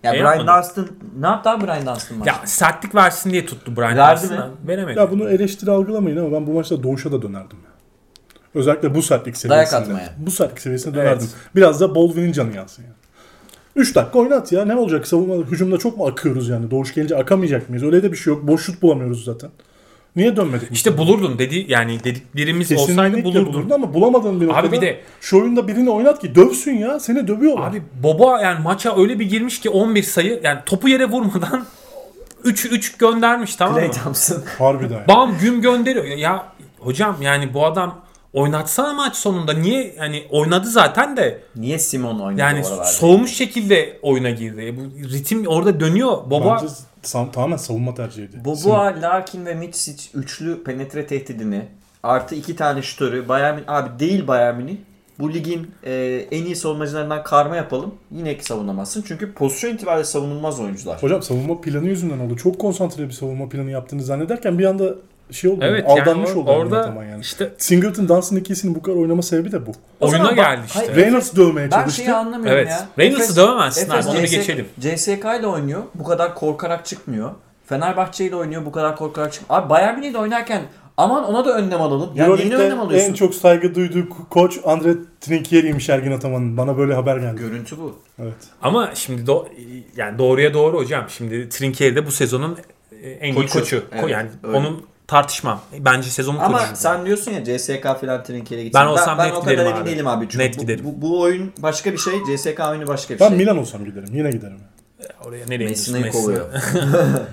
Ya
E,
Brian
yapmadı.
Dunstan ne yaptı abi Brian Dunstan maçta?
ya sertlik versin diye tuttu Brian
Verdi
Johnson'a.
mi?
Veremedi.
Ya bunu eleştiri algılamayın ama ben bu maçta doğuşa da dönerdim. Özellikle bu sertlik
Dayak
seviyesinde.
atmaya.
Bu sertlik seviyesine dönerdim. Biraz da Baldwin'in canı yansın yani. 3 dakika oynat ya. Ne olacak? Savunma hücumda çok mu akıyoruz yani? Doğuş gelince akamayacak mıyız? Öyle de bir şey yok. Boş şut bulamıyoruz zaten. Niye dönmedik?
İşte bulurdun dedi yani dediklerimiz
Kesinlikle
olsaydı bulurdun.
bulurdun ama bulamadın bir noktada.
bir de-
şu oyunda birini oynat ki dövsün ya. Seni dövüyorlar.
Abi Boba yani maça öyle bir girmiş ki 11 sayı yani topu yere vurmadan (laughs) 3 3 göndermiş tamam mı?
Clay Thompson.
Harbiden. yani.
Bam güm gönderiyor. Ya hocam yani bu adam oynatsana maç sonunda niye yani oynadı zaten de
Niye Simon oynadı
yani
oralarda?
soğumuş şekilde oyuna girdi. E, Bu ritim orada dönüyor. Boba
Bence sa- tamamen savunma tercihiydi.
Boboa, Larkin ve Mitsic üçlü penetre tehdidini artı iki tane şutörü Bayern Münih- abi değil Bayern Münih. Bu ligin e, en iyi savunmacılarından karma yapalım. Yine ki savunamazsın. Çünkü pozisyon itibariyle savunulmaz oyuncular.
Hocam savunma planı yüzünden oldu. Çok konsantre bir savunma planı yaptığını zannederken bir anda şey oldu.
Evet yani
aldanmış
or-
oldu
orada
oynatama yani.
işte
Singleton Dunstan ikisinin bu kadar oynama sebebi de bu.
O
oyuna
zaman bak-
geldi işte.
Hayır,
Reynolds dövmeye
Ben
çalıştı.
şeyi anlamıyorum
Evet.
ya.
Reynolds'ı
Efes-
dövemezsin
Efes
abi, onu bir
CS
geçelim.
CSK ile oynuyor. Bu kadar korkarak çıkmıyor. Fenerbahçe ile oynuyor. Bu kadar korkarak çıkmıyor. Abi Bayern Münih ile oynarken aman ona da önlem alalım. Yani yeni
Euroleague'de
önlem alıyorsun.
en çok saygı duyduğu ko- koç Andre Trinkieri'ymiş Ergin Ataman'ın. Bana böyle haber geldi.
Görüntü bu.
Evet.
Ama şimdi do- yani doğruya doğru hocam. Şimdi Trinkieri de bu sezonun e, en iyi
Koçu.
koçu. Ko-
Evet,
yani
öyle.
onun tartışmam. Bence sezonun
Ama
koçu.
sen diyorsun ya CSK filan trinkere gitsin.
Ben olsam net
o kadar
giderim
emin
abi.
değilim abi. Çünkü
Net
bu,
giderim.
Bu, bu oyun başka bir şey. CSK oyunu başka bir
Ben
şey.
Milan olsam giderim. Yine giderim.
Oraya nereye gidiyorsun?
Messi'ni
Messi'ne?
kovuyor.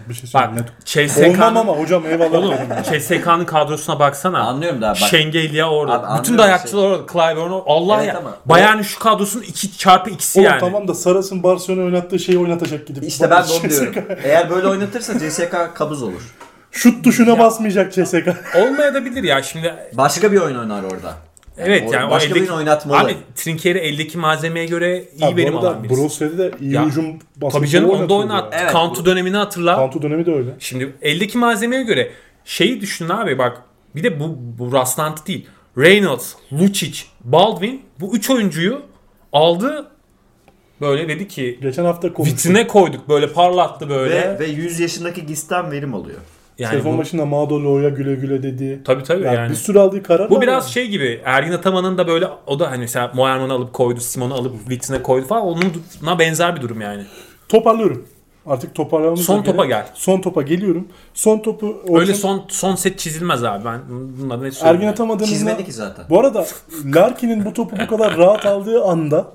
Bir şey söyleyeyim.
Bak
Net. Olmam
CSK'nın
ama hocam eyvallah.
Oğlum CSK'nın kadrosuna baksana.
Anlıyorum daha bak.
Şengelia orada.
Abi anlıyorum şey.
Bütün dayakçılar orada. Clyburn orada. Allah
Evet
ya.
ama-
Bayern'in şu kadrosunun 2 çarpı ikisi
Oğlum
yani.
tamam da Saras'ın Barcelona oynattığı şeyi oynatacak gidip.
İşte ben de
(laughs)
onu diyorum. Eğer böyle oynatırsa CSK kabız olur.
Şut tuşuna basmayacak şey CSK.
Olmaya da bilir ya şimdi.
Başka bir oyun oynar orada.
Evet
o-
yani
başka birini oynatmalı.
Abi Trinkeri eldeki malzemeye göre iyi
Abi
verim
bu arada
alan birisi.
Brose'de de iyi
Ya,
hücum basketbolu
Tabii canım onu da
oynatıyordu
oynat.
ya.
Evet,
Kantu dönemini hatırla.
Kantu dönemi de öyle.
Şimdi eldeki malzemeye göre şeyi düşünün abi bak. Bir de bu, bu rastlantı değil. Reynolds, Lucic, Baldwin bu üç oyuncuyu aldı. Böyle dedi ki
Geçen hafta konuştuk.
vitrine koyduk böyle parlattı böyle.
Ve, ve 100 yaşındaki Gisten verim oluyor.
yani
Telefon
bu,
başında Mado Loya güle güle dedi.
tabii tabii
Yani,
yani.
bir sürü aldığı karar
Bu
var
biraz
yani.
şey gibi Ergin Ataman'ın da böyle o da hani mesela Moerman'ı alıp koydu, Simon'u alıp vitrine koydu falan onunla benzer bir durum yani.
Toparlıyorum. Artık toparlamamız
Son
da gerek.
topa gel.
Son topa geliyorum. Son topu
Öyle
Orçun-
son son set çizilmez abi ben bunun adını net söylüyorum.
Ergin
yani.
atamadığımızda
Çizmedi ki zaten.
Bu arada Larkin'in bu topu bu kadar rahat aldığı anda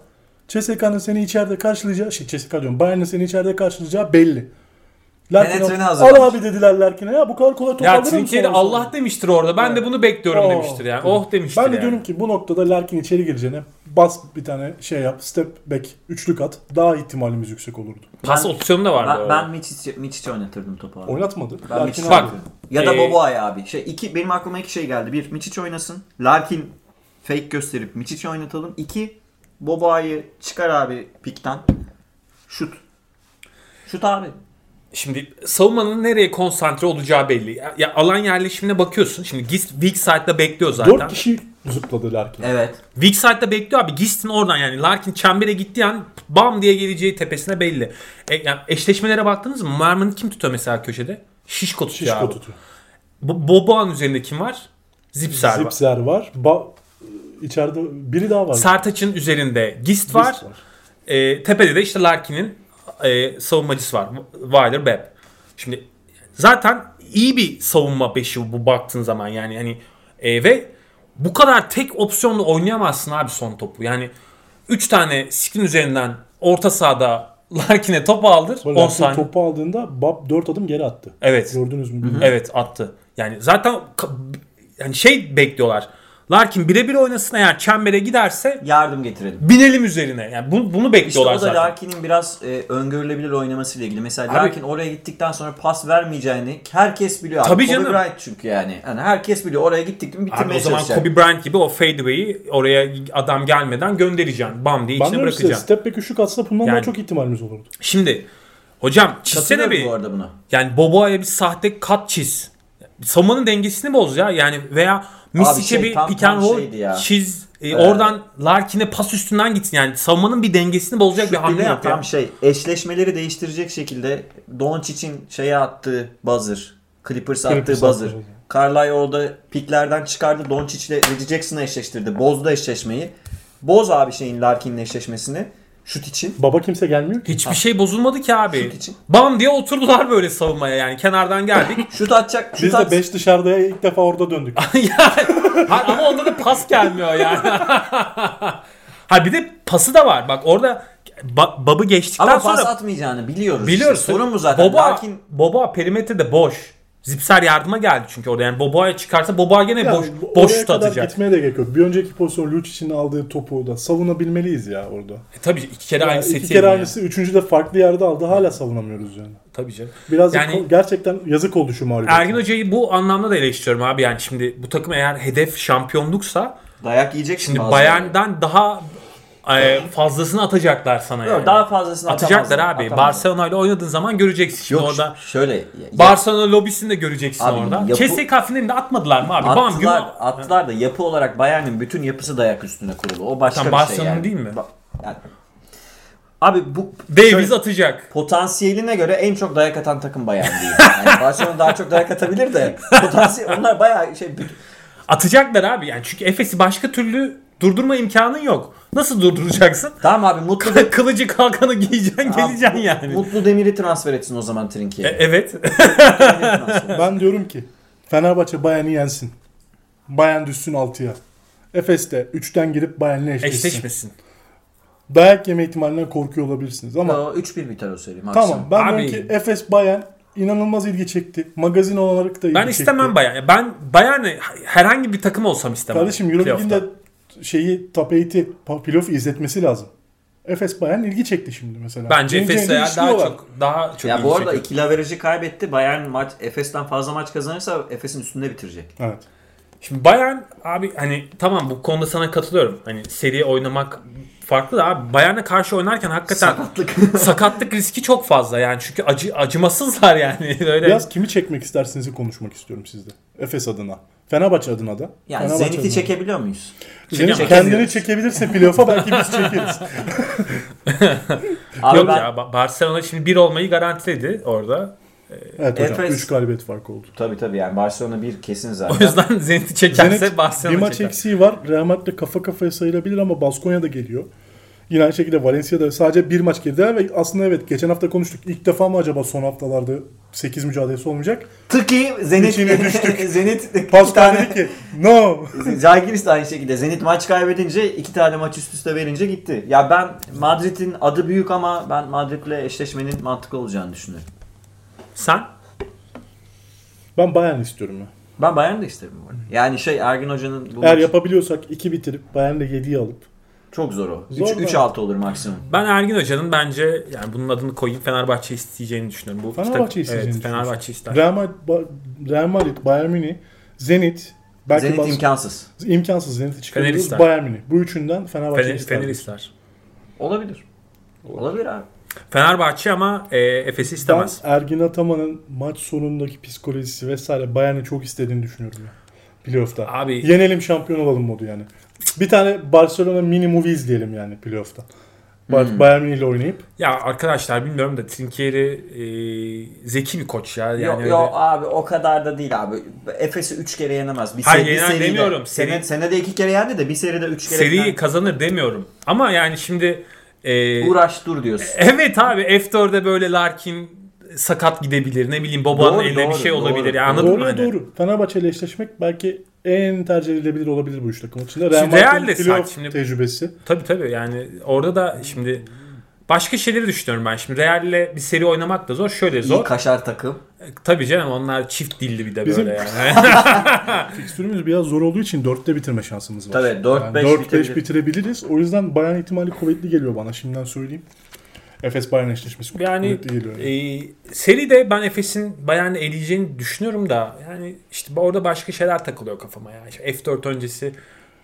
CSKA'nın seni içeride karşılayacağı, şey CSKA diyorum Bayern'in seni içeride karşılayacağı belli.
Penetreni
Larkin al,
hazırlamış.
al abi dediler Larkin'e ya bu kadar kolay top
Ya
alır mı
Trinkeri
sonra
Allah
sonra?
demiştir orada. Ben de bunu bekliyorum
Oo.
demiştir yani. Oh demiştir
Ben de
yani.
diyorum ki bu noktada Larkin içeri gireceğine bas bir tane şey yap step back üçlük at daha ihtimalimiz yüksek olurdu.
Pas
Ben-
opsiyonu da vardı.
Ben,
orada.
ben Miçic, Miçic'i oynatırdım topu abi.
Oynatmadı.
Ben
Larkin
Miçic'i
Bak,
aldı.
oynatırdım. Ya da
ee,
Boboay abi. Şey, iki, benim aklıma iki şey geldi. Bir, Miçic oynasın. Larkin fake gösterip Miçic'i oynatalım. İki, Boboay'ı çıkar abi pikten. Şut. Şut abi.
Şimdi savunmanın nereye konsantre olacağı belli. Ya, ya alan yerleşimine bakıyorsun. Şimdi Gist weak side'da bekliyor zaten.
Dört kişi zıpladı Larkin.
Evet.
Weak side'da bekliyor abi. Gist'in oradan yani Larkin çembere gittiği an bam diye geleceği tepesine belli. E, yani eşleşmelere baktınız mı? Merman'ı kim tutuyor mesela köşede? Şişko tutuyor
Şişko
abi.
tutuyor.
Bo- Boboğan üzerinde kim var? Zipser var.
Zipser var. Ba içeride biri daha var.
Sertaç'ın üzerinde Gist var.
Biz
E, tepede de işte Larkin'in e, savunmacısı var. Wilder Beb. Şimdi zaten iyi bir savunma beşi bu baktığın zaman yani hani e, ve bu kadar tek opsiyonla oynayamazsın abi son topu. Yani 3 tane skin üzerinden orta sahada (laughs) Larkin'e topu aldır.
Sonra
10
Larkin
saniye.
topu aldığında Bab 4 adım geri attı.
Evet.
Gördünüz mü? bilmiyorum.
Evet attı. Yani zaten ka- yani şey bekliyorlar. Larkin birebir oynasın eğer çembere giderse
Yardım getirelim.
binelim üzerine. Yani bu- bunu
İşte
bekliyorlar
o da
zaten.
Larkin'in biraz e, öngörülebilir oynamasıyla ilgili. Mesela
Abi-
Larkin oraya gittikten sonra pas vermeyeceğini herkes biliyor abi.
Tabii
Kobe
canım.
Bryant çünkü yani. yani. Herkes biliyor. Oraya gittik mi
Abi
bitirmeye
o zaman
çalışacak.
Kobe Bryant gibi o fadeaway'i oraya adam gelmeden göndereceğim. Bam diye
Ben
içine
diyorum size
bırakacağım.
step back üçlük atsa bundan
Yani-
daha çok ihtimalimiz olurdu.
Şimdi hocam çizse de
Katılıyorum
bir
bu arada buna.
yani Boboa'ya bir sahte kat çiz. Savunmanın dengesini boz ya. Yani veya Misic'e
şey,
bir
tam-
pick and
tam
roll
şeydi ya.
çiz. E, Oradan Larkin'e pas üstünden gitsin. Yani savunmanın bir dengesini bozacak bir
Şu
hamle
bile
yap ya.
tam şey eşleşmeleri değiştirecek şekilde Doncic'in şeye attığı buzzer. Clippers attığı
Clippers
buzzer.
attığı.
Carlisle orada piklerden çıkardı. Doncic'le Reggie Jackson'ı eşleştirdi. Bozdu eşleşmeyi. Boz abi şeyin Larkin'in eşleşmesini. Şut için.
Baba kimse gelmiyor ki.
Hiçbir şey bozulmadı ki abi.
Şut için.
Bam diye oturdular böyle savunmaya yani. Kenardan geldik.
Şut atacak. Şut
Biz de
at-
5 dışarıda ilk defa orada döndük.
Yani- Ha, ama onda da pas gelmiyor yani. (laughs) ha bir de pası da var. Bak orada ba- babı geçtikten
ama
sonra
pas atmayacağını biliyoruz.
biliyorsun.
Işte. Sorun bu zaten.
Boba,
Larkin
Boba perimetrede boş. Zipser yardıma geldi çünkü orada. Yani Boba'ya çıkarsa Boba gene
Ya,
boş,
oraya
boş şut
kadar
atacak.
Gitmeye de gerek yok. Bir önceki pozisyon Lucic'in aldığı topu da savunabilmeliyiz ya orada.
E, tabii iki kere aynı
Yani
seti
iki kere
yedin
aynısı, üçüncü de farklı yerde aldı. Hala savunamıyoruz yani.
yani. Tabii canım.
Biraz
Yani-
ko- gerçekten yazık oldu şu mağlubiyet.
Ergin Hoca'yı bu anlamda da eleştiriyorum abi. Yani şimdi bu takım eğer hedef şampiyonluksa
dayak yiyecek
Şimdi
bazı-
Bayern'den daha e, fazlasını atacaklar sana yani.
Yok, daha fazlasını
atacaklar
atamazlar,
abi.
atamazlar.
Barcelona ile oynadığın zaman göreceksin şimdi
Yok
orada.
şöyle. ya-
Barcelona lobisini de göreceksin
Abi,
orada.
yapı-
CSKA finalinde atmadılar mı abi? Bam gün.
Attılar, attılar da yapı olarak Bayern'in bütün yapısı dayak üstüne kurulu. O başka
Tamam,
bir şey
Barcelona
yani.
değil mi?
Ba- yani- Abi bu
Davies
şöyle-
atacak.
potansiyeline göre en çok dayak atan takım Bayern
(laughs)
değil. Yani Barcelona daha çok dayak atabilir de potansiyel onlar bayağı şey bütün-
Atacaklar abi. Yani çünkü Efes'i başka türlü durdurma imkanın yok. Nasıl durduracaksın? (laughs)
Tamam abi Mutlu de-
Kılıcı kalkanı giyeceksin, geleceksin
Abi,
yani.
Mutlu Demir'i transfer etsin o zaman Trinki'ye.
E- Evet. (laughs)
Demir'i transfer.
Ben diyorum ki Fenerbahçe Bayern'i yensin. Bayern düşsün 6'ya. Efes de 3'ten girip Bayern'le eşleşsin.
Eşleşmesin.
Dayak yeme ihtimalinden korkuyor olabilirsiniz ama
Yo, 3-1 biter o seri maksimum.
tamam ben
Abi-
diyorum ki Efes Bayern inanılmaz ilgi çekti. Magazin olarak da ilgi
Ben
çekti.
istemem Bayern. Ben Bayern'e herhangi bir takım olsam istemem.
Kardeşim Euroleague'in de
Playoff'ta.
şeyi tapeti playoff'u izletmesi lazım. Efes Bayern ilgi çekti şimdi mesela.
Bence
Cenk
Efes'e
Cenk'i
ya daha
işliyorlar.
çok daha çok
Ya
iyi
bu arada
çekiyor.
ikili averajı kaybetti. Bayern maç Efes'ten fazla maç kazanırsa Efes'in üstünde bitirecek.
Evet.
Şimdi Bayern abi hani tamam bu konuda sana katılıyorum. Hani seriye oynamak farklı da abi Bayern'e karşı oynarken hakikaten
Sakatlık.
(laughs) sakatlık riski çok fazla yani. Çünkü acı acımasızlar yani. (laughs) Öyle
Biraz kimi çekmek istersinizi konuşmak istiyorum sizde. Efes adına. Fenerbahçe adına da.
Yani
Fenerbahçe
Zenit'i
adına.
çekebiliyor muyuz?
Zenit
Çekemiyoruz.
kendini çekebilirse playoff'a belki biz
(laughs)
çekeriz.
Abi
Yok
ben
ya Ba- Barcelona şimdi bir olmayı garantiledi orada.
Evet hocam.
Efes-
3 galibiyet farkı oldu.
tabii tabii yani Barcelona
(laughs)
bir kesin
O
zaten.
yüzden Zenit'i çekerse
Zenit bir
Barcelona
maç
çeker.
eksiği var. Real Madrid kafaya kafaya sayılabilir ama Baskonya da geliyor. Yine aynı şekilde Valencia'da sadece bir maç girdiler ve aslında evet geçen hafta konuştuk. İlk defa mı acaba son haftalarda 8 mücadelesi olmayacak?
Tıki Zenit
İçine düştük.
(laughs) Zenit iki
Pascal
tane
dedi ki no.
Zalgiris de aynı şekilde Zenit maç kaybedince iki tane maç üst üste verince gitti. Ya ben Madrid'in adı büyük ama ben Madrid'le eşleşmenin mantıklı olacağını düşünüyorum.
Sen?
Ben Bayern istiyorum ya.
Ben Bayern'i de isterim bu arada. Yani şey Ergin Hoca'nın bu
Eğer
maç-
yapabiliyorsak 2 bitirip Bayern'le 7'yi alıp
çok zor o.
Zor da.
3-6 olur maksimum.
Ben Ergin Hoca'nın bence yani bunun adını koyayım Fenerbahçe isteyeceğini düşünüyorum. Bu
Fenerbahçe
işte-
isteyeceğini
evet,
düşünüyorsun.
Fenerbahçe ister.
Real Madrid, Ba- Real Madrid, Bayern Münih, Zenit belki
Zenit
Bas-
imkansız.
imkansız Zenit'i çıkarıyoruz.
ister.
Bayern Münih. Bu üçünden Fenerbahçe
Fener,
ister.
Fener ister.
Olabilir. Olabilir abi.
Fenerbahçe ama e, Efes'i
Ben
istemez.
Ergin Ataman'ın maç sonundaki psikolojisi vesaire Bayern'i çok istediğini düşünüyorum ya. Playoff'ta.
Abi-
Yenelim şampiyon olalım modu yani. Bir tane Barcelona mini movie izleyelim yani playoff'ta.
Hmm.
Ba- Bayern Münih ile oynayıp.
Ya arkadaşlar bilmiyorum da Trinkieri e, zeki bir koç ya. Yani
yok
öyle-
yok abi o kadar da değil abi. Efes'i 3 kere yenemez. Bir,
Hayır,
seri- bir
yener
seride.
demiyorum.
Sene,
Seri-
senede 2 kere yendi de bir seride 3 kere
seriyi
yener.
kazanır demiyorum. Ama yani şimdi e,
uğraş dur diyorsun.
evet abi F4'de böyle Larkin sakat gidebilir. Ne bileyim Boba'nın
Doğru,
eline bir
doğru,
şey
doğru.
olabilir. Ya, anladın mı?
doğru
hani?
doğru. Fenerbahçe ile eşleşmek belki en tercih edilebilir olabilir bu üç takım içinde. Real
Şimdi Real de
Madrid'in playoff
sakin.
tecrübesi.
Tabii tabii yani orada da şimdi başka şeyleri düşünüyorum ben. Şimdi Real'le bir seri oynamak da zor. Şöyle
İyi
zor.
kaşar takım.
Tabii canım onlar çift dilli bir de
Bizim-
böyle
(laughs)
yani.
Fikstürümüz biraz zor olduğu için 4'te bitirme şansımız var.
Tabii, dört, beş
4-5
bitirebilir.
bitirebiliriz. O yüzden Bayern ihtimali kuvvetli geliyor bana şimdiden söyleyeyim. Efes Bayern eşleşmesi
Yani
kuvvetli geliyor.
e, seride ben Efes'in Bayern'i eleyeceğini düşünüyorum da yani işte orada başka şeyler takılıyor kafama ya. İşte F4 öncesi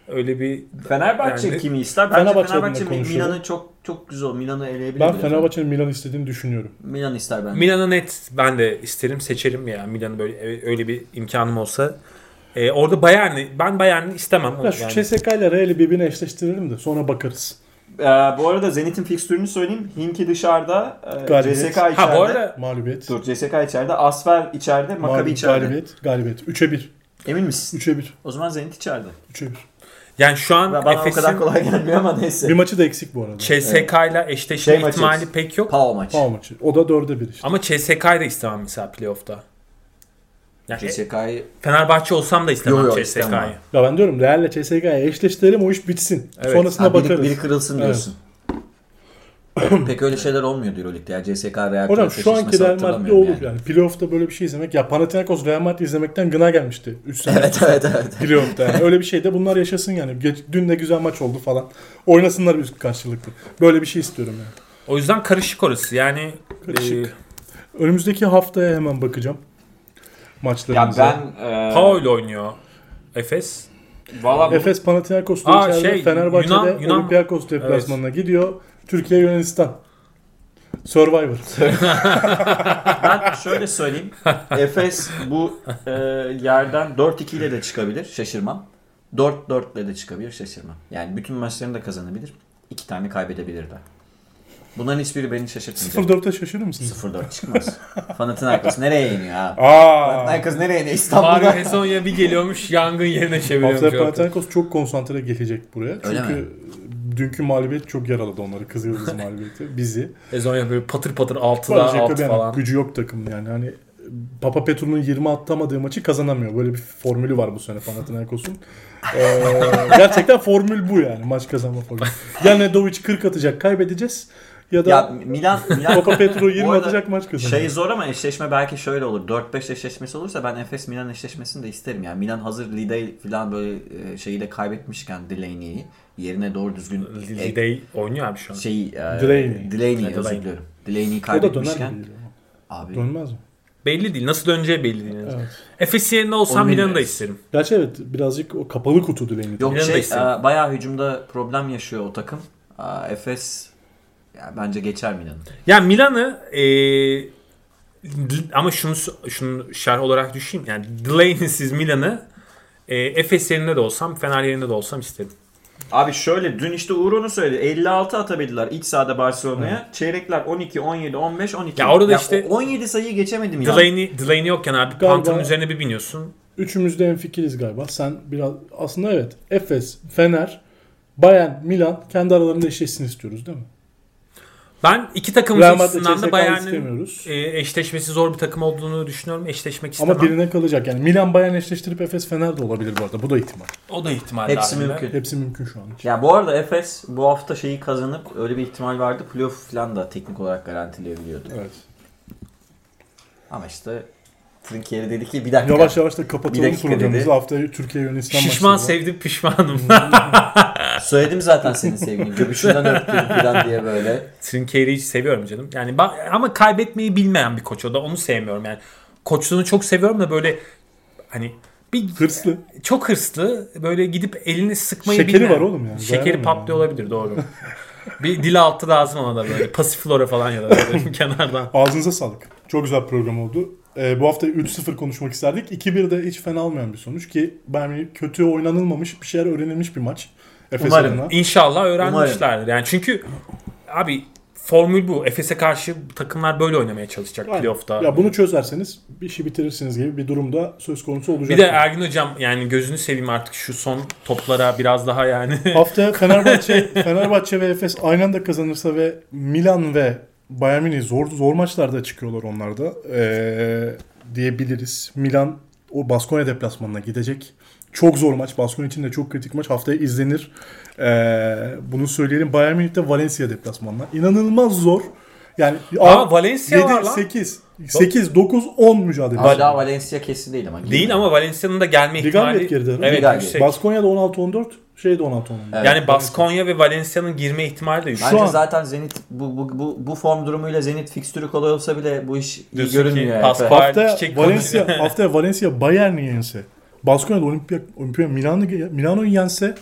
öyle bir
Fenerbahçe
Yani-
kimi ister? Bence
Fenerbahçe
Fenerbahçe,
adına
Mi-
konuşuyorum.
Milan'ı çok çok güzel. Milan'ı eleyebilir.
Ben
bile.
Fenerbahçe'nin Milan istediğini düşünüyorum.
Milan ister bence.
Milan'ı net ben de isterim seçerim ya Milan'ı böyle e, öyle bir imkanım olsa. E, orada Bayern'i ben Bayern'i istemem.
Ya şu
Yani-
CSK ile Real'i birbirine eşleştirelim de sonra bakarız.
Ee, bu arada Zenit'in fikstürünü söyleyeyim. Hinki dışarıda, e,
Galibiyet.
CSK içeride.
ha bu arada
Mağlubiyet.
Dur, CSK içeride, Asfer içeride, Maccabi
Mağlubiyet.
içeride.
Galibiyet. Galibiyet. 3'e 1.
Emin misin?
3'e 1.
O zaman Zenit içeride.
3'e 1.
yani şu an
Bana o kadar
Efes'in
kolay gelmiyor ama neyse.
Bir maçı da eksik bu arada.
CSK ile eşleşme
Şey maçı-
ihtimali pek yok.
Pau maçı.
Pau maçı. O da 4'e 1 işte.
Ama CSK'yı da istemem mesela playoff'ta. Yani
E,
CSK'yı
Fenerbahçe olsam da istemem
Yo, yo,
CSK'yı.
istemem.
Ya ben diyorum Real'le CSK'yi eşleştirelim o iş bitsin.
Evet.
Sonrasına
Ha, biri,
bakarız.
biri kırılsın
Evet. (coughs)
diyorsun. Pek öyle şeyler olmuyor Euroleague'de ya. CSK Real
Hocam
Madrid
şu anki
eşleşmesi
Real Madrid'de
hatırlamıyorum
olur yani. Playoff'ta böyle bir şey izlemek. Ya Panathinaikos Real Madrid izlemekten gına gelmişti. 3 sene.
(laughs) evet evet evet.
(laughs) Playoff'ta yani. Öyle bir şey de bunlar yaşasın yani. Geç, dün de güzel maç oldu falan. Oynasınlar biz karşılıklı. Böyle bir şey istiyorum yani.
O yüzden karışık orası. Yani
Karışık. Önümüzdeki haftaya hemen bakacağım.
Ya
Maçlarımıza.
ben e,
e, Paul oynuyor Efes. Valla bu-
Efes Panathinaikos
Aa,
içeride
şey,
Fenerbahçe'de
Yunan- Yunan-
Olympiakos deplasmanına gidiyor. Türkiye Yunanistan. Survivor. (laughs)
Ben şöyle söyleyeyim. Efes bu e, yerden 4-2 ile de çıkabilir. Şaşırmam. 4-4 ile de çıkabilir. Şaşırmam. Yani bütün maçlarını da kazanabilir. iki tane kaybedebilir de. Bunların hiçbiri beni şaşırtmayacak.
0-4'e şaşırır mısınız?
0-4 çıkmaz. Panathinaikos nereye iniyor abi?
Aa.
Panathinaikos nereye iniyor? İstanbul'da.
Mario Hesonya bir geliyormuş yangın yerine çeviriyormuş.
Haftaya
ortalığı.
Panathinaikos çok konsantre gelecek buraya.
Öyle
Çünkü
mi?
dünkü mağlubiyet çok yaraladı onları. Kızıl
(laughs)
Yıldız mağlubiyeti. Bizi.
Hesonya böyle patır patır altıda
Barış
alt
Jacobian
falan.
gücü yok takım yani. Hani Papa Petru'nun 20 atamadığı maçı kazanamıyor. Böyle bir formülü var bu sene Panathinaikos'un.
(laughs)
Ee, gerçekten formül bu yani maç kazanma formülü. Ya Nedovic 40 atacak kaybedeceğiz ya da
Ya Milan, Milan
Papa Petru 20
(laughs) Bu arada
atacak maç kazanacak.
Şey zor ama eşleşme belki şöyle olur. 4-5 eşleşmesi olursa ben Efes Milan eşleşmesini de isterim. Yani Milan hazır Lidey falan böyle e, şeyi de kaybetmişken Delaney'i yerine doğru düzgün e,
Lidey oynuyor abi şu
Şey-
an.
şeyi e,
Delaney.
Delaney'i
Delaney.
özür diliyorum. Delaney'i
o da döner
şey kaybetmişken
mi?
abi
Dönmez mi?
Belli değil. Nasıl döneceği belli değil.
Evet.
Efes'in yerinde olsam
Onu
Milan'ı da
bilmiyoruz.
isterim.
Gerçi evet birazcık o kapalı kutu Delaney.
yok
Milan'ı da
şey e,
isterim.
bayağı hücumda problem yaşıyor o takım. E, Efes ya bence geçer Milan'ı.
Ya Milan'ı e, l- ama şunu şunu şerh olarak düşüneyim. Yani Delaney'siz Milan'ı e, Efes yerinde de olsam, Fener yerinde de olsam isterim.
Abi şöyle dün işte Uğur onu söyledi. 56 atabildiler iç sahada Barcelona'ya. Çeyrekler 12, 17, 15, 12.
Ya orada işte-
o- 17 sayıyı geçemedim ya.
Delaney, Delaney yokken abi
Galiba-
Panther'ın üzerine bir biniyorsun.
Üçümüz de enfikiriz galiba. Sen biraz aslında evet Efes, Fener, Bayern, Milan kendi aralarında eşleşsin istiyoruz değil mi?
Ben iki takım
Real Madrid
açısından
içerisinde
da
kalmak
Bayern'in
istemiyoruz.
e, eşleşmesi zor bir takım olduğunu düşünüyorum. Eşleşmek istemem.
Ama birine kalacak. Yani Milan Bayern eşleştirip Efes Fener de olabilir bu arada. Bu da ihtimal.
O da ihtimal
Hepsi
dahilinde.
mümkün.
Hepsi mümkün şu an için.
Ya bu arada Efes bu hafta şeyi kazanıp öyle bir ihtimal vardı. Playoff falan da teknik olarak garantileyebiliyordu.
Evet.
Ama işte Trinkieri dedi ki bir dakika.
Yavaş yavaş da
Bir
kapatalım
dakika
programımızı.
dedi.
Haftaya Türkiye Yunanistan maçı
Şişman
var.
sevdim pişmanım. (laughs)
Söyledim zaten senin sevgilin. Göbüşünden öptüm falan diye böyle.
Trinkeri'yi seviyorum canım. Yani ba- ama kaybetmeyi bilmeyen bir koç o da onu sevmiyorum yani. Koçluğunu çok seviyorum da böyle hani bir
Hırslı.
çok hırslı böyle gidip elini sıkmayı
Şekeri
bilmeyen.
var oğlum yani,
Şekeri
dayanamıyor
patlıyor olabilir doğru. bir dil altı lazım ona da böyle pasiflora falan ya da böyle (laughs) kenardan.
Ağzınıza sağlık. Çok güzel program oldu. Ee, bu hafta 3-0 konuşmak isterdik. 2-1 de hiç fena olmayan bir sonuç ki yani kötü oynanılmamış bir şeyler öğrenilmiş bir maç. Efes
Umarım.
adına.
İnşallah öğrenmişlerdir. Yani çünkü abi formül bu. Efes'e karşı takımlar böyle oynamaya çalışacak
Yani,
playoff'ta.
Ya bunu çözerseniz bir işi bitirirsiniz gibi bir durumda söz konusu olacak.
bir de er- Ergin hocam yani gözünü seveyim artık şu son toplara biraz daha yani
Haftaya Fenerbahçe, Fenerbahçe ve Efes aynı anda kazanırsa ve Milan ve Bayern Münih zor zor maçlarda çıkıyorlar onlar da ee, diyebiliriz. Milan o Baskonya deplasmanına gidecek. Çok zor maç. Baskonya için de çok kritik maç. Haftaya izlenir. Ee, bunu söyleyelim. Bayern Münih de Valencia deplasmanına. İnanılmaz zor. Yani
Aa, Valencia var lan.
8 8 9 10 mücadele.
Hala Valencia kesin değil ama.
Değil ama Valencia'nın da gelme ihtimali
Ligambet geride, değil mi?
Evet
Liga
yüksek.
Baskonya'da 16 14, şeyde 16 14.
Evet.
yani Baskonya ve Valencia'nın girme ihtimali de yüksek.
Bence
an-
zaten Zenit bu, bu, bu, bu form durumuyla Zenit fikstürü kolay olsa bile bu iş iyi
Diyorsun ki,
görünmüyor. yani.
Pascal-
Fe-
Haftaya
Çiçek
Valencia haftaya Valencia Bayern'i yense, Baskonya'da Olimpia Olimpia Milano Milano'yu yense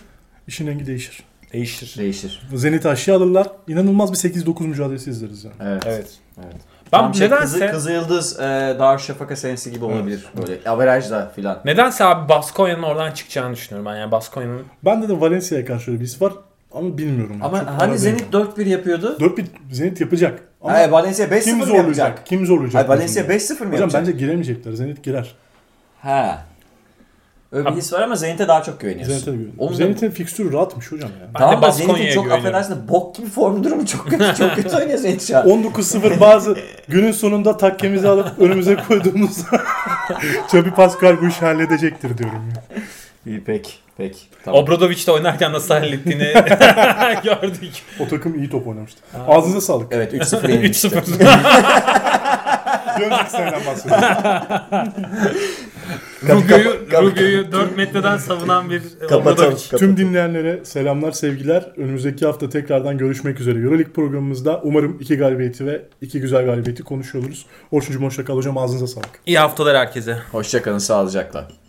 işin rengi değişir.
Değişir.
Değişir.
Zenit'i aşağı alırlar. İnanılmaz bir 8-9 mücadelesi izleriz yani.
Evet.
Evet.
Evet.
Ben
Tam şey,
nedense
Kızı, Kızı Yıldız e, Darüşşafaka senesi gibi olabilir. Böyle averajda filan.
nedense abi Baskonya'nın oradan çıkacağını düşünüyorum ben. Yani Baskonya'nın
Bende de Valencia'ya karşı öyle bir his var ama bilmiyorum.
Ama
Çok karar
hani Zenit 4-1 yapıyordu?
veremiyorum. 4 bir Zenit yapacak. Ama
Hayır, Valencia 5-0
kim
mı
zorlayacak?
yapacak?
Kim zorlayacak?
Hayır, Valencia
Hocam
5-0 mı yapacak?
bence giremeyecekler. Zenit girer.
Ha. Öyle bir his var ama Zenit'e daha çok güveniyorsun.
Zenit'e de
Onun
güveniyorum.
da-
Zenit'in fikstürü rahatmış hocam ya.
Ben
Tamam
de
da Zenit'in
Baskonya'ya
çok
güveniyorum.
affedersin de bok gibi form durumu çok kötü.
(laughs)
çok kötü oynuyor Zenit şu an.
19-0 bazı günün sonunda takkemizi alıp önümüze koyduğumuz Çöpü Pascal bu işi halledecektir diyorum. ya.
İyi pek. Pek.
Obradoviç'te oynarken nasıl
(laughs)
hallettiğini (laughs) gördük.
O takım iyi top oynamıştı. Ağzınıza sağlık.
(laughs)
Evet 3-0 yenilmişti.
3-0.
Bir önceki seneden bahsediyorum.
Rugio'yu Rugio'yu 4 metreden savunan bir
Kapatalım.
Obradoviç.
Tüm dinleyenlere selamlar, sevgiler. Önümüzdeki hafta tekrardan görüşmek üzere. Euroleague programımızda umarım iki galibiyeti ve iki güzel galibiyeti konuşuyor oluruz. Orçuncum hoşça kal hocam ağzınıza sağlık.
İyi haftalar herkese.
Hoşçakalın sağlıcakla.